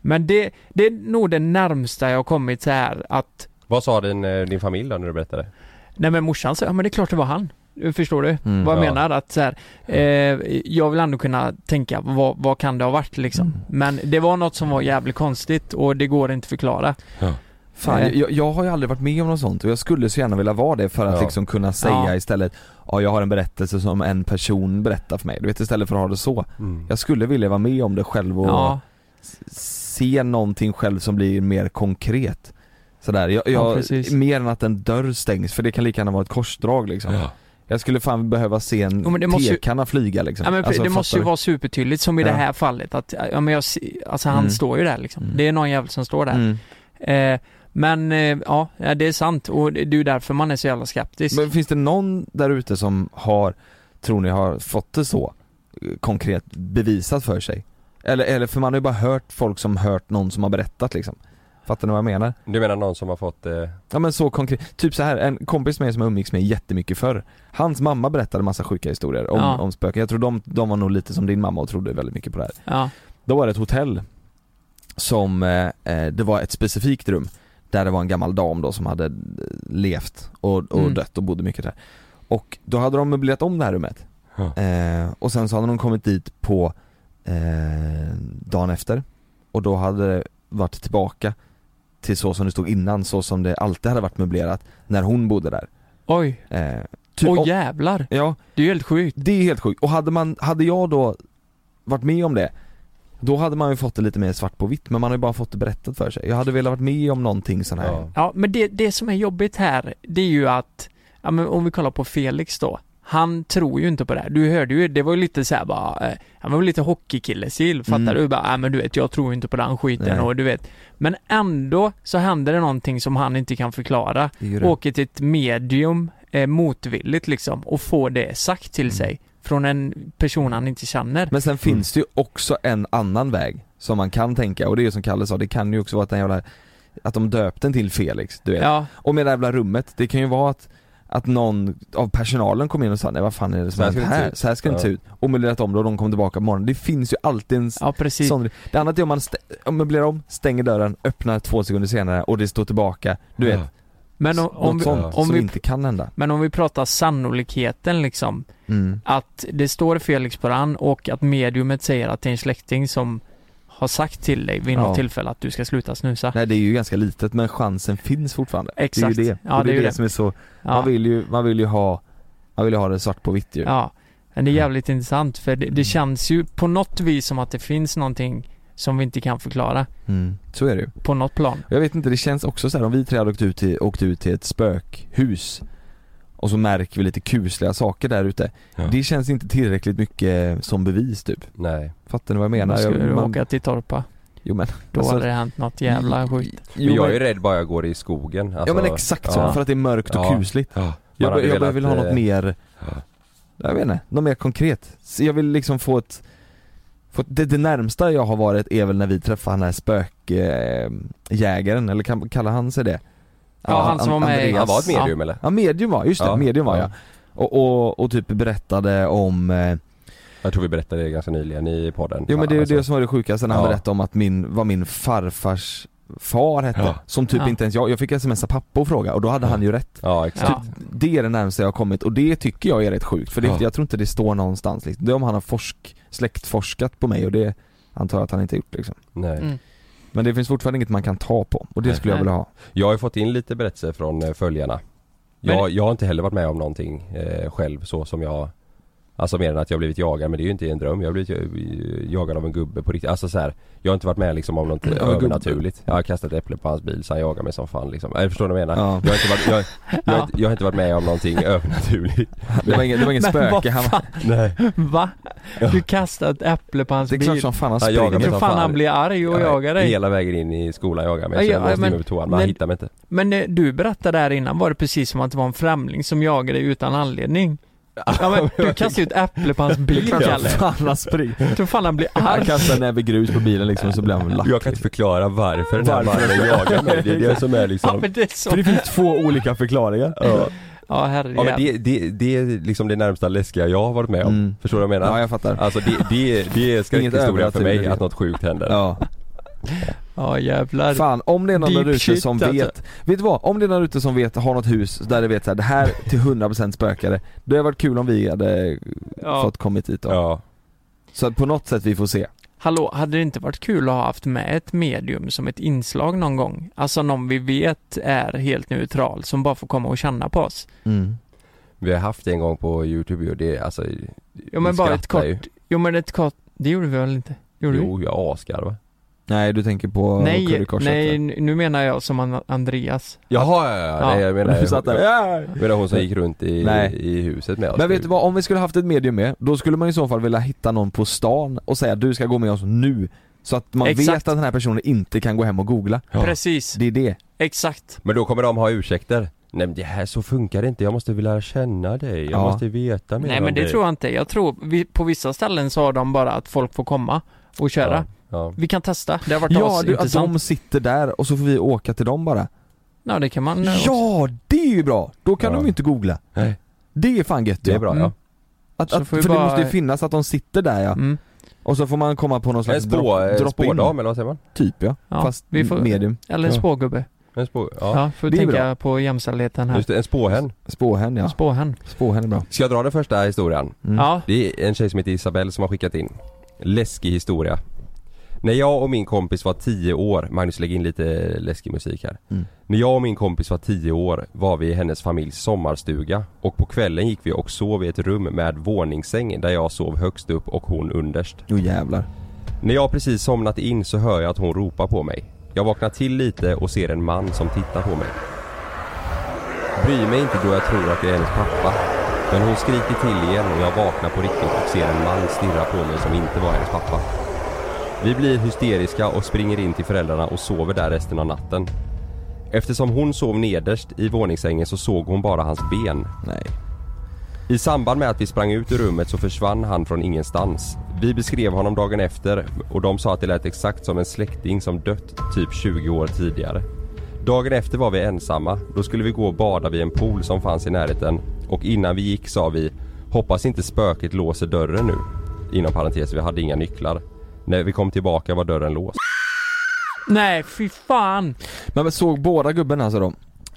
S4: Men det, det är nog det närmsta jag har kommit så här att,
S6: Vad sa din, eh, din familj då när du berättade?
S4: nej men morsan sa, ja men det är klart det var han. Eh, Förstår du?
S3: Mm,
S4: vad jag
S6: ja.
S4: menar? Att så här, eh, jag vill ändå kunna tänka, vad, vad kan det ha varit liksom?
S3: Mm.
S4: Men det var något som var jävligt konstigt och det går inte förklara.
S3: Fan,
S4: Nej.
S3: jag, jag har ju aldrig varit med om något sånt och jag skulle så gärna vilja vara det för att
S6: Ja.
S3: liksom kunna säga
S4: Ja.
S3: istället Ja jag har en berättelse som en person berättar för mig, du vet istället för att ha det så
S6: Mm.
S3: Jag skulle vilja vara med om det själv och
S4: Ja,
S3: se någonting själv som blir mer konkret Sådär, jag,
S4: Ja,
S3: jag,
S4: precis.
S3: mer än att en dörr stängs för det kan lika gärna vara ett korsdrag liksom
S6: Ja.
S3: Jag skulle fan behöva se en
S4: Jo, men det måste ju-
S3: tekanna flyga liksom
S4: ja men,
S3: Alltså,
S4: det
S3: fattar
S4: måste ju
S3: du?
S4: vara supertydligt som i det
S3: Ja.
S4: här fallet att, ja men jag se- alltså han
S3: Mm.
S4: står ju där liksom.
S3: Mm.
S4: Det är någon jävel som står där.
S3: mm.
S4: Eh, men eh, ja, ja, det är sant och det det är ju därför man är så jävla skeptisk.
S3: Men finns det någon där ute som har, tror ni har fått det så eh, konkret bevisat för sig? Eller, eller för man har ju bara hört folk som hört någon som har berättat liksom Fattar ni vad jag menar?
S6: Du menar någon som har fått... Eh,
S3: Ja men så konkret, typ så här en kompis med mig som jag umgicks med jättemycket förr Hans mamma berättade massa sjuka historier om,
S4: Ja.
S3: om spöken, jag tror de, de var nog lite som din mamma och trodde väldigt mycket på det här
S4: ja.
S3: Då var det ett hotell som, eh, eh, det var ett specifikt rum där det var en gammal dam då som hade eh, levt och, och
S4: Mm.
S3: dött och bodde mycket där. Och då hade de möblerat om det här rummet.
S6: Ja.
S3: Eh, och sen så hade de kommit dit på eh, dagen efter och då hade det varit tillbaka till så som det stod innan, så som det alltid hade varit möblerat när hon bodde där.
S4: Oj,
S3: Eh,
S4: åh
S3: typ- och-
S4: jävlar.
S3: ja,
S4: Det är ju helt sjukt.
S3: det är helt sjukt. Och hade, man, hade jag då varit med om det, då hade man ju fått det lite mer svart på vitt men man har ju bara fått det berättat för sig. Jag hade velat varit med om någonting sån här.
S6: ja.
S4: Ja, men det, det som är jobbigt här, det är ju att, ja men om vi kollar på Felix då. Han tror ju inte på det. här. Du hörde ju, det var ju lite såhär bara, eh, han var väl lite hockeykillesil, fattar
S3: Mm.
S4: du? Bara, ja men du vet, jag tror inte på den skiten
S3: Nej.
S4: och du vet. Men ändå så händer det någonting som han inte kan förklara.
S3: Det är ju det.
S4: Åker till ett medium, eh, motvilligt liksom, och får det sagt
S3: Mm.
S4: till sig. Från en person han inte känner.
S3: Men sen finns det ju också en annan väg som man kan tänka och det är ju som Kalle sa, det kan ju också vara att den jävla att de döpte den till Felix, du vet.
S4: ja,
S3: Och med det jävla rummet, det kan ju vara att att någon av personalen kom in och sa nej vad fan är det
S6: Så
S3: som
S6: här
S3: hänt
S6: ska det inte se
S3: här?
S6: ut."
S3: Så här ska det inte se
S6: Ja.
S3: ut. Och möblerat om det och de kom tillbaka på morgonen. Det finns ju alltid en
S4: ja precis.
S3: Sån, det annat är om man, stä- om man blir om, stänger dörren, öppnar två sekunder senare och det står tillbaka, du vet,
S4: men om,
S3: något
S4: om, vi,
S3: sånt
S4: om,
S3: som
S4: vi,
S3: inte kan hända.
S4: men om vi pratar sannolikheten liksom.
S3: Mm.
S4: att det står Felix på den och att mediumet säger att det är en släkting som har sagt till dig vid något
S3: Ja.
S4: tillfälle att du ska sluta snusa.
S3: Nej det är ju ganska litet men chansen finns fortfarande.
S4: Exakt.
S3: Det är ju det.
S4: Ja,
S3: och det,
S4: det är
S3: är
S4: ju
S3: det,
S4: det.
S3: som är så, man,
S4: Ja,
S3: vill ju, man vill ju ha, man vill ju ha det svart på vitt ju. Mm.
S4: ja. Men det är jävligt intressant för det, det känns ju på något vis som att det finns någonting som vi inte kan förklara
S3: Mm. Så är det ju.
S4: på något plan.
S3: Jag vet inte, det känns också så här om vi tre hade åkt ut till, åkt ut till ett spökhus och så märker vi lite kusliga saker där ute.
S6: Ja.
S3: Det känns inte tillräckligt mycket som bevis typ.
S6: Nej.
S3: Fattar ni vad jag
S4: Då
S3: menar?
S4: skulle du
S3: jag, man,
S4: åka till Torpa.
S3: jo men.
S4: Då
S3: alltså- Mm.
S4: hade det hänt något jävla sjukt.
S6: Men
S3: Jo,
S6: jag
S3: men-
S6: är ju rädd bara jag går i skogen.
S3: Ja
S6: Alltså,
S3: men exakt så,
S6: ja.
S3: för att det är mörkt och
S6: Ja.
S3: kusligt.
S6: Ja. Man
S3: Jag,
S6: hade
S3: be- jag
S6: velat,
S3: vill ha något
S6: eh,
S3: mer,
S6: ja.
S3: jag vet inte, något mer konkret. Så jag vill liksom få ett, få ett det, det närmsta jag har varit är väl när vi träffade den här spökjägaren, eller kan, kallar han sig det?
S4: Ja, han som var med i-
S3: Andreas.
S6: Han var ett medium eller?
S3: Ja medium var, just det,
S6: Ja.
S3: medium var
S6: Ja.
S3: jag. Och, och, och typ berättade om eh,
S6: Jag tror vi berättade det ganska nyligen i podden
S3: Jo men det är ju
S6: Alltså,
S3: det som var det sjukaste när han
S6: Ja.
S3: berättade om att min, vad min farfars far hette,
S6: Ja.
S3: som typ
S6: Ja.
S3: inte ens jag, jag fick smsa pappa och fråga och då hade han ju rätt.
S6: Ja exakt
S3: Typ, det är det närmaste jag har kommit och det tycker jag är rätt sjukt för det,
S6: Ja.
S3: jag tror inte det står någonstans liksom. Det är om han har forsk, släktforskat på mig och det antar jag att han inte gjort liksom.
S6: Nej. Mm.
S3: Men det finns fortfarande inget man kan ta på och det
S6: Nej.
S3: skulle jag vilja ha.
S6: Jag har ju fått in lite berättelser från eh, följarna
S3: Men-
S6: jag, jag har inte heller varit med om någonting eh, själv så som jag Alltså mer än att jag blivit jagad men det är ju inte en dröm. Jag har blivit eh, jagad av en gubbe på riktigt. Alltså så här, Jag har inte varit med liksom om något
S3: Av en gubbe?
S6: övernaturligt. Jag har kastat äpple på hans bil så han jagar mig som fan liksom. Jag förstår du vad jag menar?
S3: Ja.
S6: Jag, har inte varit, jag, jag, har inte- jag har inte varit med om någonting övernaturligt.
S3: Det var ingen, det var ingen
S4: Men vad
S3: spöke, han
S4: fan?
S6: Nej.
S4: Va? Du kastar ett äpple på hans
S3: Det är
S4: bil?
S3: klart som fan han
S6: Han jagar
S3: springer.
S6: mig
S4: tror
S6: som
S4: fan han blir arg och
S6: Ja,
S4: jagar dig.
S6: Hela vägen in i skolan jagar mig.
S4: Ja,
S6: Så
S4: ja,
S6: jag måste
S4: men-
S6: men, på toan men han
S4: men-
S6: hittar mig inte.
S4: Men eh, du berättade där innan, var det precis som att det var en främling som jagade dig utan anledning? Ja, men du kastade ju ett äpple på hans
S3: Det är
S4: bil
S3: klart som
S4: Kalle.
S3: fan han springer.
S4: Jag tror fan han blir
S3: Han
S4: arg.
S3: kastar en näve grus på bilen liksom så blir han lack.
S6: Jag kan inte förklara varför den här
S3: Varför?
S6: mannen jagar mig. Det är det som är
S4: Ja
S6: liksom
S4: men det är så.
S3: För det finns två olika förklaringar.
S6: Ja,
S4: Ja
S6: ja men
S4: herrejävlar.
S6: det, det, det är liksom det närmsta läskiga jag har varit med om.
S3: Mm.
S6: Förstår du vad jag menar?
S3: Ja, jag fattar.
S6: Alltså det, det, det är skräckhistoria för mig
S3: övernaturligt.
S6: att något sjukt händer.
S3: Ja.
S4: Ja jävlar.
S3: Fan, om det är någon
S4: Deep
S3: där ute
S4: shit,
S3: som
S4: alltså.
S3: vet, vet du vad? Om det är någon där ute som vet, har något hus där det vet så här, det här till 100% spökade Det hade varit kul om vi hade
S4: Ja.
S3: fått kommit hit då.
S6: Ja.
S3: Så att på något sätt vi får se.
S4: Hallå, hade det inte varit kul att ha haft med ett medium som ett inslag någon gång? Alltså någon vi vet är helt neutral som bara får komma och känna på oss.
S6: Mm. Vi har haft det en gång på youtube ju, det är alltså
S4: Jo men
S6: vi
S4: bara ett
S6: skrattar
S4: kort,
S6: ju.
S4: jo men ett kort, det gjorde vi väl inte? Gjorde vi?
S6: Jo, jag asgarvar.
S3: Nej du tänker på
S4: Nej,
S3: Currykorset?
S4: nej, nu menar jag som An- Andreas.
S6: Jaha, ja, ja, ja. Nej, jag menar,
S3: Du satt där.
S6: jag menar hon som gick runt i,
S3: Nej.
S6: i huset med oss.
S3: Men vet du vad, om vi skulle haft ett medium med, då skulle man i så fall vilja hitta någon på stan och säga du ska gå med oss nu. Så att man
S4: Exakt.
S3: vet att den här personen inte kan gå hem och googla.
S4: Precis,
S3: Det är det.
S4: exakt.
S6: Men då kommer de ha ursäkter. Nej men det här så funkar det inte, jag måste vilja känna dig, jag
S3: Ja.
S6: måste veta mer
S4: Nej
S6: om
S4: men det
S6: dig.
S4: tror jag inte. Jag tror, vi, på vissa ställen så har de bara att folk får komma och köra.
S6: Ja.
S4: Vi kan testa, det har varit
S3: Ja, du, alltså, att
S4: asintressant.
S3: de sitter där och så får vi åka till dem bara.
S4: Ja det kan man eh, Mm. också.
S3: Ja, det är ju bra! Då kan
S6: Ja.
S3: de ju inte googla.
S6: Nej.
S3: Det är fan gött
S6: Det
S3: ja.
S6: är bra
S4: Mm.
S6: ja.
S3: Att,
S4: Så
S3: att, för
S4: får vi
S3: det
S4: bara-
S3: måste ju finnas att de sitter där ja.
S4: Mm.
S3: Och så får man komma på någon
S6: En
S3: slags
S6: spå,
S3: drop-
S6: en
S3: drop in
S6: spådam eller vad säger man?
S3: typ ja.
S4: Ja,
S3: Fast
S4: vi får-
S3: medium.
S4: Eller en
S6: Ja.
S4: spågubbe.
S6: En spå,
S4: Ja,
S6: ja.
S4: för att
S3: det är
S4: tänka
S3: bra.
S4: på jämställdheten här.
S6: Just det, en spåhen.
S3: Spåhen ja.
S4: Spåhen.
S3: Spåhen är bra.
S6: Ska jag dra den första historien?
S3: Mm.
S4: Ja.
S6: Det är en tjej som heter Isabelle som har skickat in. Läskig historia. När jag och min kompis var 10 år, Magnus lägg in lite läskig musik här.
S3: Mm.
S6: När jag och min kompis var 10 år var vi i hennes familjs sommarstuga och på kvällen gick vi och sov i ett rum med våningssäng där jag sov högst upp och hon underst.
S3: Jo jävlar.
S6: När jag precis somnat in så hör jag att hon ropar på mig. Jag vaknar till lite och ser en man som tittar på mig. Bryr mig inte då jag tror att det är hennes pappa. Men hon skriker till igen och jag vaknar på riktigt och ser en man stirra på mig som inte var hennes pappa. Vi blir hysteriska och springer in till föräldrarna och sover där resten av natten. Eftersom hon sov nederst i våningssängen så såg hon bara hans ben.
S3: Nej.
S6: I samband med att vi sprang ut ur rummet så försvann han från ingenstans. Vi beskrev honom dagen efter och de sa att det lät exakt som en släkting som dött typ 20 år tidigare. Dagen efter var vi ensamma. Då skulle vi gå och bada vid en pool som fanns i närheten och innan vi gick sa vi “Hoppas inte spöket låser dörren nu”. Inom parentes, vi hade inga nycklar. När vi kom tillbaka var dörren låst.
S4: Nej, fy fan.
S3: Men men såg båda gubben alltså då?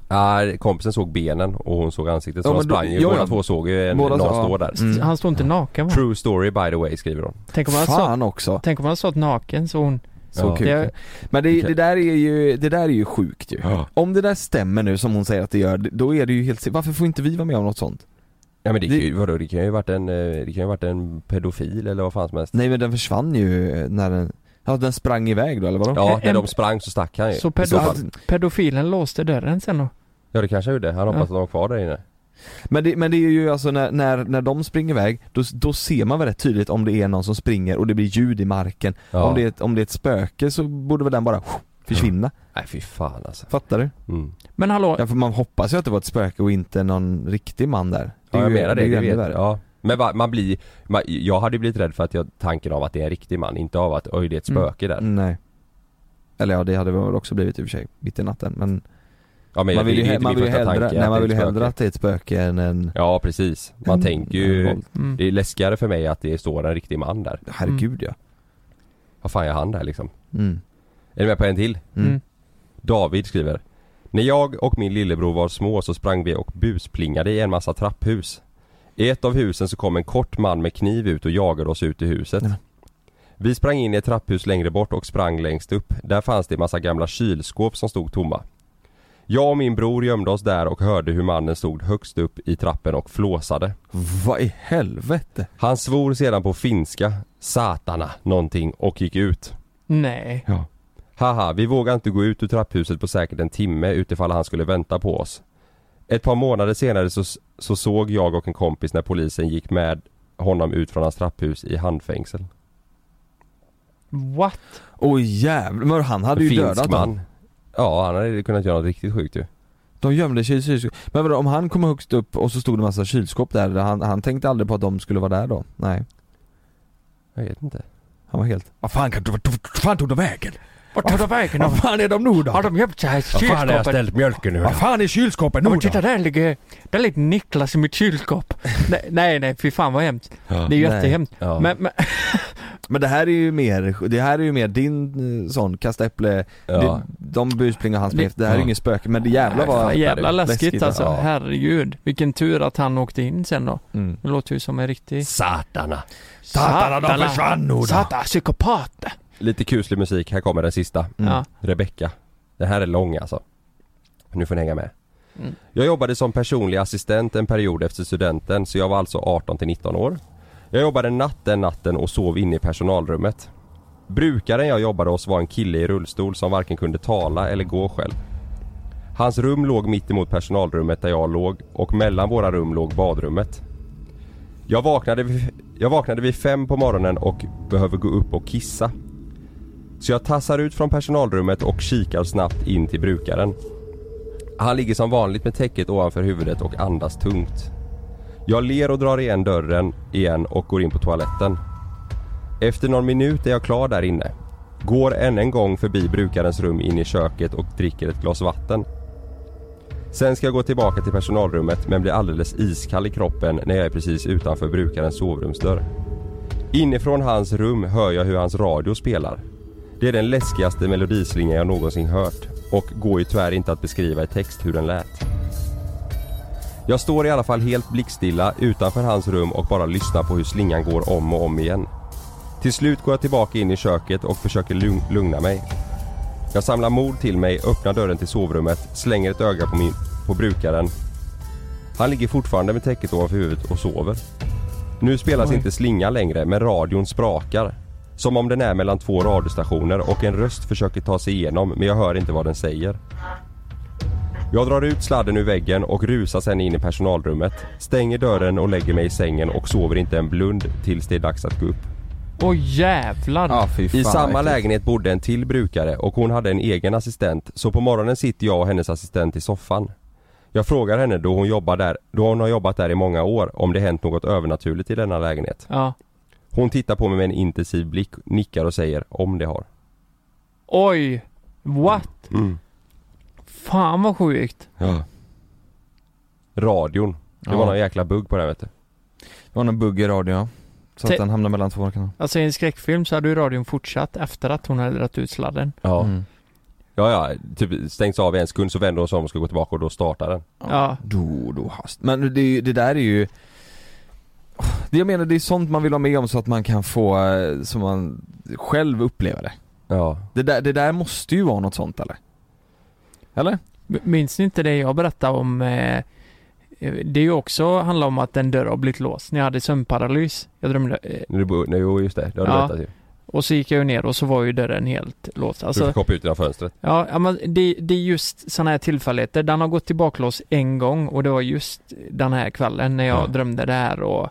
S6: Nej, kompisen såg benen och hon såg ansiktet så
S3: Ja,
S6: de
S3: men då-
S6: sprang ju.
S3: ja, ja.
S6: Båda två såg ju en,
S3: Båda
S6: någon
S3: så- ja.
S6: stå där.
S3: Mm.
S4: Han står inte naken va?
S6: True story by the way skriver hon.
S4: Tänk om han sa,
S3: Fan också.
S4: tänk om han sa naken så hon...
S3: Så
S6: Ja.
S3: kul.
S4: Det-
S3: Men det, det, där är ju, det där är ju sjukt ju.
S6: Ja.
S3: Om det där stämmer nu som hon säger att det gör, då är det ju helt si- Varför får inte vi vara med om något sånt?
S6: Ja men det,
S3: Det-
S6: kan ju- vadå, det kan ju varit en, eh, det kan ju varit en pedofil eller vad fan som helst.
S3: Nej men den försvann ju eh, när den, ja den sprang iväg då eller vadå?
S6: Ja, när
S4: En-
S6: de sprang så stack han ju.
S4: Så
S6: I fall.
S4: pedof- pedofilen låste dörren sen då?
S6: Ja det kanske han gjorde, han hoppas
S4: Ja.
S6: att de var kvar där inne.
S3: Men det, men det är ju alltså när, när, när de springer iväg, då, då ser man väl rätt tydligt om det är någon som springer och det blir ljud i marken.
S6: Ja.
S3: Om, det är ett, om det är ett spöke så borde väl den bara försvinna.
S6: Nej fy fan alltså.
S3: Fattar du?
S6: Mm.
S4: Men hallå,
S3: Ja, för man hoppas ju att det var ett spöke och inte någon riktig man där.
S6: Ja, jag
S3: ju-
S6: menar det,
S3: är ju
S6: det
S3: ännu
S6: vet
S3: värre.
S6: ja. Men va, man blir, man, jag hade ju blivit rädd för att jag, tanken av att det är en riktig man, inte av att oj det är
S3: Mm.
S6: ett spöke där.
S3: Nej. Eller ja, det hade väl också blivit i och för sig, mitt i natten men
S6: Ja, men
S3: man vill ju,
S6: det- det är
S3: he-
S6: inte
S3: man
S6: min
S3: vill ju
S6: första
S3: hellre,
S6: tanke
S3: nej,
S6: att
S3: man
S6: det är
S3: vill ju
S6: ett
S3: hellre
S6: spöke.
S3: att det är ett spöke än en...
S6: Ja precis, man
S3: Mm.
S6: tänker ju
S4: Mm.
S6: Det är läskigare för mig att det står en riktig man där
S3: Herregud ja.
S6: Vad fan gör han där liksom?
S3: Mm.
S6: Är du med på en till?
S3: Mm.
S6: David skriver När jag och min lillebror var små så sprang vi och busplingade i en massa trapphus I ett av husen så kom en kort man med kniv ut och jagade oss ut i huset Vi sprang in i ett trapphus längre bort och sprang längst upp Där fanns det en massa gamla kylskåp som stod tomma Jag och min bror gömde oss där och hörde hur mannen stod högst upp i trappen och flåsade
S3: Vad i helvete?
S6: Han svor sedan på finska, satana, någonting och gick ut.
S4: Nej.
S6: Ja. Haha, vi vågade inte gå ut ur trapphuset på säkert en timme utifall han skulle vänta på oss. Ett par månader senare så, så såg jag och en kompis när polisen gick med honom ut från hans trapphus i handfängsel.
S4: What?
S3: Oj jävlar, men han hade ju
S6: Finsk
S3: dödat
S6: man.
S3: dem.
S6: Ja, han hade kunnat göra något riktigt sjukt ju.
S3: De gömde sig i kylskåp. Men vadå, om han kom högst upp och så stod det massa kylskåp där, han, han tänkte aldrig på att de skulle vara där då? Nej.
S6: Jag vet inte.
S3: Han var helt...
S9: Vad fan, kan- vart- vart fan tog de vägen?
S4: Vart tar de vägen?
S9: Vad fan är de nu då?
S4: Har de gömt sig här i
S6: Vad fan har jag
S4: kylskåpet?
S6: ställt mjölken nu då?
S9: Vad fan är kylskåpet
S4: Ja,
S9: nu
S4: men
S9: då?
S4: titta där ligger, där ligger Niklas i mitt kylskåp. nej, nej, nej, fy fan vad hemskt.
S6: Ja.
S4: Det är
S3: Nej.
S4: jättehemskt.
S6: Ja.
S4: Men, men,
S3: Men det här är ju mer, det här är ju mer din eh, sån kasta äpple,
S6: Ja.
S3: det, de busplingar hans det, det här är
S6: Ja.
S3: ju inget spöke men det jävla var
S4: fan, jävla läskigt alltså.
S3: Ja.
S4: Herregud. Vilken tur att han åkte in sen då.
S3: Mm.
S4: Det låter ju som en riktig...
S6: Satana.
S9: Satana, de försvann nu då.
S4: Satana, psykopat!
S6: Lite kuslig musik, här kommer den sista.
S3: Mm.
S4: Ja.
S6: Rebecka. Det här är lång alltså. Nu får ni hänga med.
S4: Mm.
S6: Jag jobbade som personlig assistent en period efter studenten så jag var alltså 18 till 19 år. Jag jobbade natt den natten och sov inne i personalrummet. Brukaren jag jobbade hos var en kille i rullstol som varken kunde tala eller gå själv. Hans rum låg mitt emot personalrummet där jag låg och mellan våra rum låg badrummet. Jag vaknade, vid- jag vaknade vid fem på morgonen och behöver gå upp och kissa. Så jag tassar ut från personalrummet och kikar snabbt in till brukaren. Han ligger som vanligt med täcket ovanför huvudet och andas tungt. Jag ler och drar igen dörren igen och går in på toaletten. Efter någon minut är jag klar där inne. Går än en gång förbi brukarens rum in i köket och dricker ett glas vatten. Sen ska jag gå tillbaka till personalrummet men blir alldeles iskall i kroppen när jag är precis utanför brukarens sovrumsdörr. Inifrån hans rum hör jag hur hans radio spelar. Det är den läskigaste melodislingan jag någonsin hört och går ju tyvärr inte att beskriva i text hur den lät. Jag står i alla fall helt blickstilla utanför hans rum och bara lyssnar på hur slingan går om och om igen. Till slut går jag tillbaka in i köket och försöker lugn- lugna mig. Jag samlar mod till mig, öppnar dörren till sovrummet, slänger ett öga på, min, på brukaren. Han ligger fortfarande med täcket ovanför huvudet och sover. Nu spelas inte slinga längre, men radion sprakar. Som om den är mellan två radiostationer och en röst försöker ta sig igenom, men jag hör inte vad den säger. Jag drar ut sladden ur väggen och rusar sen in i personalrummet, stänger dörren och lägger mig i sängen och sover inte en blund tills det är dags att gå upp.
S4: Åh jävlar!
S3: Ja, fy fan,
S6: I samma
S3: verkligen.
S6: lägenhet bodde en till brukare och hon hade en egen assistent så på morgonen sitter jag och hennes assistent i soffan. Jag frågar henne då hon, jobbar där, då hon har jobbat där i många år om det hänt något övernaturligt i denna lägenhet.
S4: Ja.
S6: Hon tittar på mig med en intensiv blick, nickar och säger om det har.
S4: Oj! What?
S3: Mm.
S4: Fan vad sjukt.
S6: Radion. Det var
S3: Ja.
S6: någon jäkla bugg på den vet du.
S3: Det var någon bugg i radion ja. Så
S4: Te-
S3: att den hamnade mellan två orkar.
S4: Alltså i en skräckfilm så hade ju radion fortsatt efter att hon hade dragit ut sladden.
S6: Ja.
S3: Mm.
S6: ja, ja. Typ stängs av i en sekund så vänder hon sig om och ska gå tillbaka och då startar den.
S4: Ja.
S3: Då, då hast. Men det, är ju- det där är ju det jag menar det är sånt man vill ha med om så att man kan få, eh, så man själv upplever det.
S6: Ja.
S3: Det där, det där måste ju vara något sånt eller? Eller?
S4: M- Minns ni inte det jag berättade om? Eh, det är ju också handlar om att en dörr har blivit låst när jag hade sömnparalys. Jag drömde, eh,
S6: Nu, bo- nu, jo just det, det har du
S4: Ja.
S6: berättat ju.
S4: och så gick jag ju ner och så var ju dörren helt låst.
S6: Du
S4: Alltså,
S6: fick hoppa ut genom fönstret.
S4: Ja, ja, men det, det är just sådana här tillfälligheter. Den har gått till baklås en gång och det var just den här kvällen när jag
S6: Ja.
S4: drömde det här och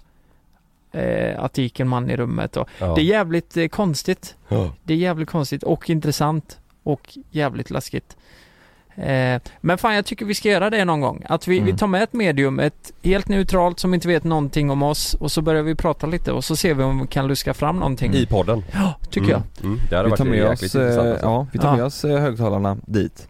S4: eh, att det gick en man i rummet och
S6: Ja.
S4: det är jävligt eh, konstigt.
S6: Ja.
S4: Det är jävligt konstigt och intressant och jävligt läskigt. Eh, men fan jag tycker vi ska göra det någon gång. Att vi, vi
S3: Mm.
S4: tar med ett medium, ett helt neutralt som inte vet någonting om oss och så börjar vi prata lite och så ser vi om vi kan luska fram någonting.
S6: Mm.
S3: Typ.
S6: I podden.
S4: Ja, tycker jag.
S6: Mm. Mm. Det hade
S3: Vi
S6: varit
S3: tar med
S6: jäkligt alltså.
S3: oss, eh,
S6: intressant alltså.
S3: ja, vi tar med
S4: Ja.
S3: oss eh, högtalarna dit.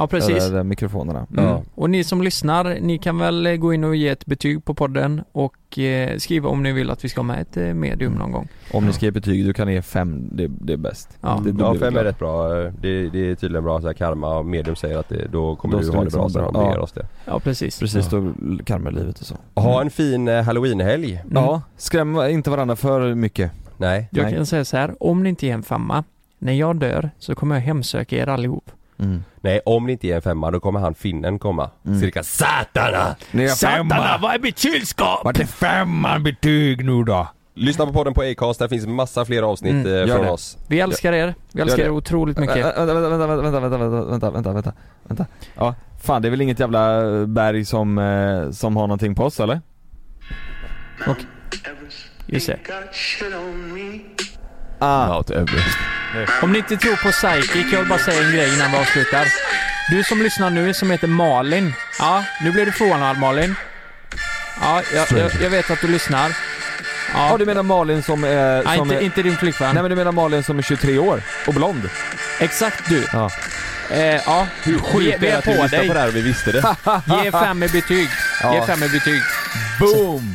S4: Ja, precis.
S3: Eller mikrofonerna.
S4: Mm. Och ni som lyssnar, ni kan väl eh, gå in och ge ett betyg på podden och eh, skriva om ni vill att vi ska ha med ett eh, medium
S3: Mm.
S4: någon gång.
S3: Om ni ska ge betyg, du kan ge fem, det, det är bäst.
S4: Ja.
S3: det, då
S6: Ja,
S3: blir vi
S6: fem är
S3: glada.
S6: rätt bra. Det, det är tydligen bra så här karma och medium säger att det, då kommer
S3: Då
S6: du
S3: ska
S6: ha det
S3: liksom
S6: bra så
S3: bra.
S6: han
S3: Ja.
S6: ber oss det.
S4: Ja, Mm. precis.
S3: Precis, då karmar livet och så.
S6: Ha en fin eh, halloweenhelg.
S3: Ja, skräm inte varandra för mycket.
S6: Nej.
S4: Jag
S3: Nej.
S4: kan säga så här, om ni inte ger en femma, när jag dör så kommer jag hemsöka er allihop.
S3: Mm.
S6: Nej, om ni inte är en femma då kommer han finnen komma. Cirka satana!
S3: Ni är
S4: Satana, vad är mitt kylskåp?
S9: Vart är femman betyg nu då?
S6: Lyssna på podden på Acast, där finns massa fler avsnitt
S4: Mm,
S6: eh,
S3: gör
S6: från
S3: det.
S6: oss.
S4: Vi älskar er, vi älskar
S3: Gör det.
S4: er otroligt
S3: Ä-
S4: mycket.
S3: ä- Äh, Vänta, vänta, vänta, vänta, vänta, vänta, vänta, vänta, vänta. Ja, fan det är väl inget jävla eh, berg som, eh, som har någonting på oss eller?
S4: Just det.
S5: Got shit on me.
S3: Ah,
S10: Mount Everest.
S4: Om ni inte tror på psychic, jag vill bara säga en grej innan vi avslutar. Du som lyssnar nu, som heter Malin. Ja, nu blir du förvånad Malin. Ja, jag, jag, jag vet att du lyssnar.
S3: ja.
S4: Ja,
S3: du menar Malin som är...
S4: Nej,
S3: som
S4: inte,
S3: är
S4: inte din flickvän.
S3: Nej men du menar Malin som är 23 år och blond?
S4: Exakt du.
S3: Ja.
S4: Eh, ja. Hur vi, vi är på dig.
S6: på det här och vi visste det.
S4: Ge fem i betyg. Ge fem i betyg.
S3: Boom!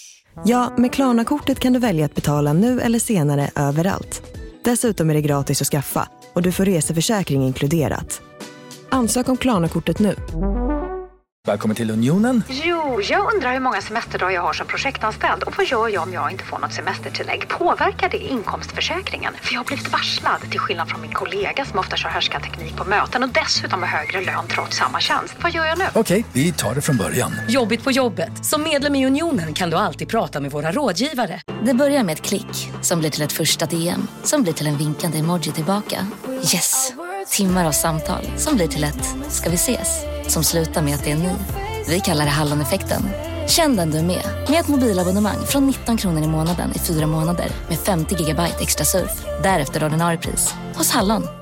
S1: Ja, med Klarna-kortet kan du välja att betala nu eller senare överallt. Dessutom är det gratis att skaffa och du får reseförsäkring inkluderat. Ansök om Klarna-kortet nu.
S10: Välkommen till Unionen.
S11: Jo, jag undrar hur många semesterdagar jag har som projektanställd och vad gör jag om jag inte får något semestertillägg? Påverkar det inkomstförsäkringen? För jag har blivit varslad, till skillnad från min kollega som ofta kör härskarteknik på möten och dessutom har högre lön trots samma tjänst. Vad gör jag nu?
S10: Okej, vi tar det från början.
S12: Jobbigt på jobbet. Som medlem i Unionen kan du alltid prata med våra rådgivare.
S13: Det börjar med ett klick som blir till ett första DM som blir till en vinkande emoji tillbaka. Yes! Timmar av samtal som blir till ett “ska vi ses?” som slutar med att det är ni. Vi kallar det Halloneffekten. Känn den du är med, med ett mobilabonnemang från 19 kronor i månaden i fyra månader med 50 gigabyte extra surf. Därefter ordinarie pris, hos Hallon.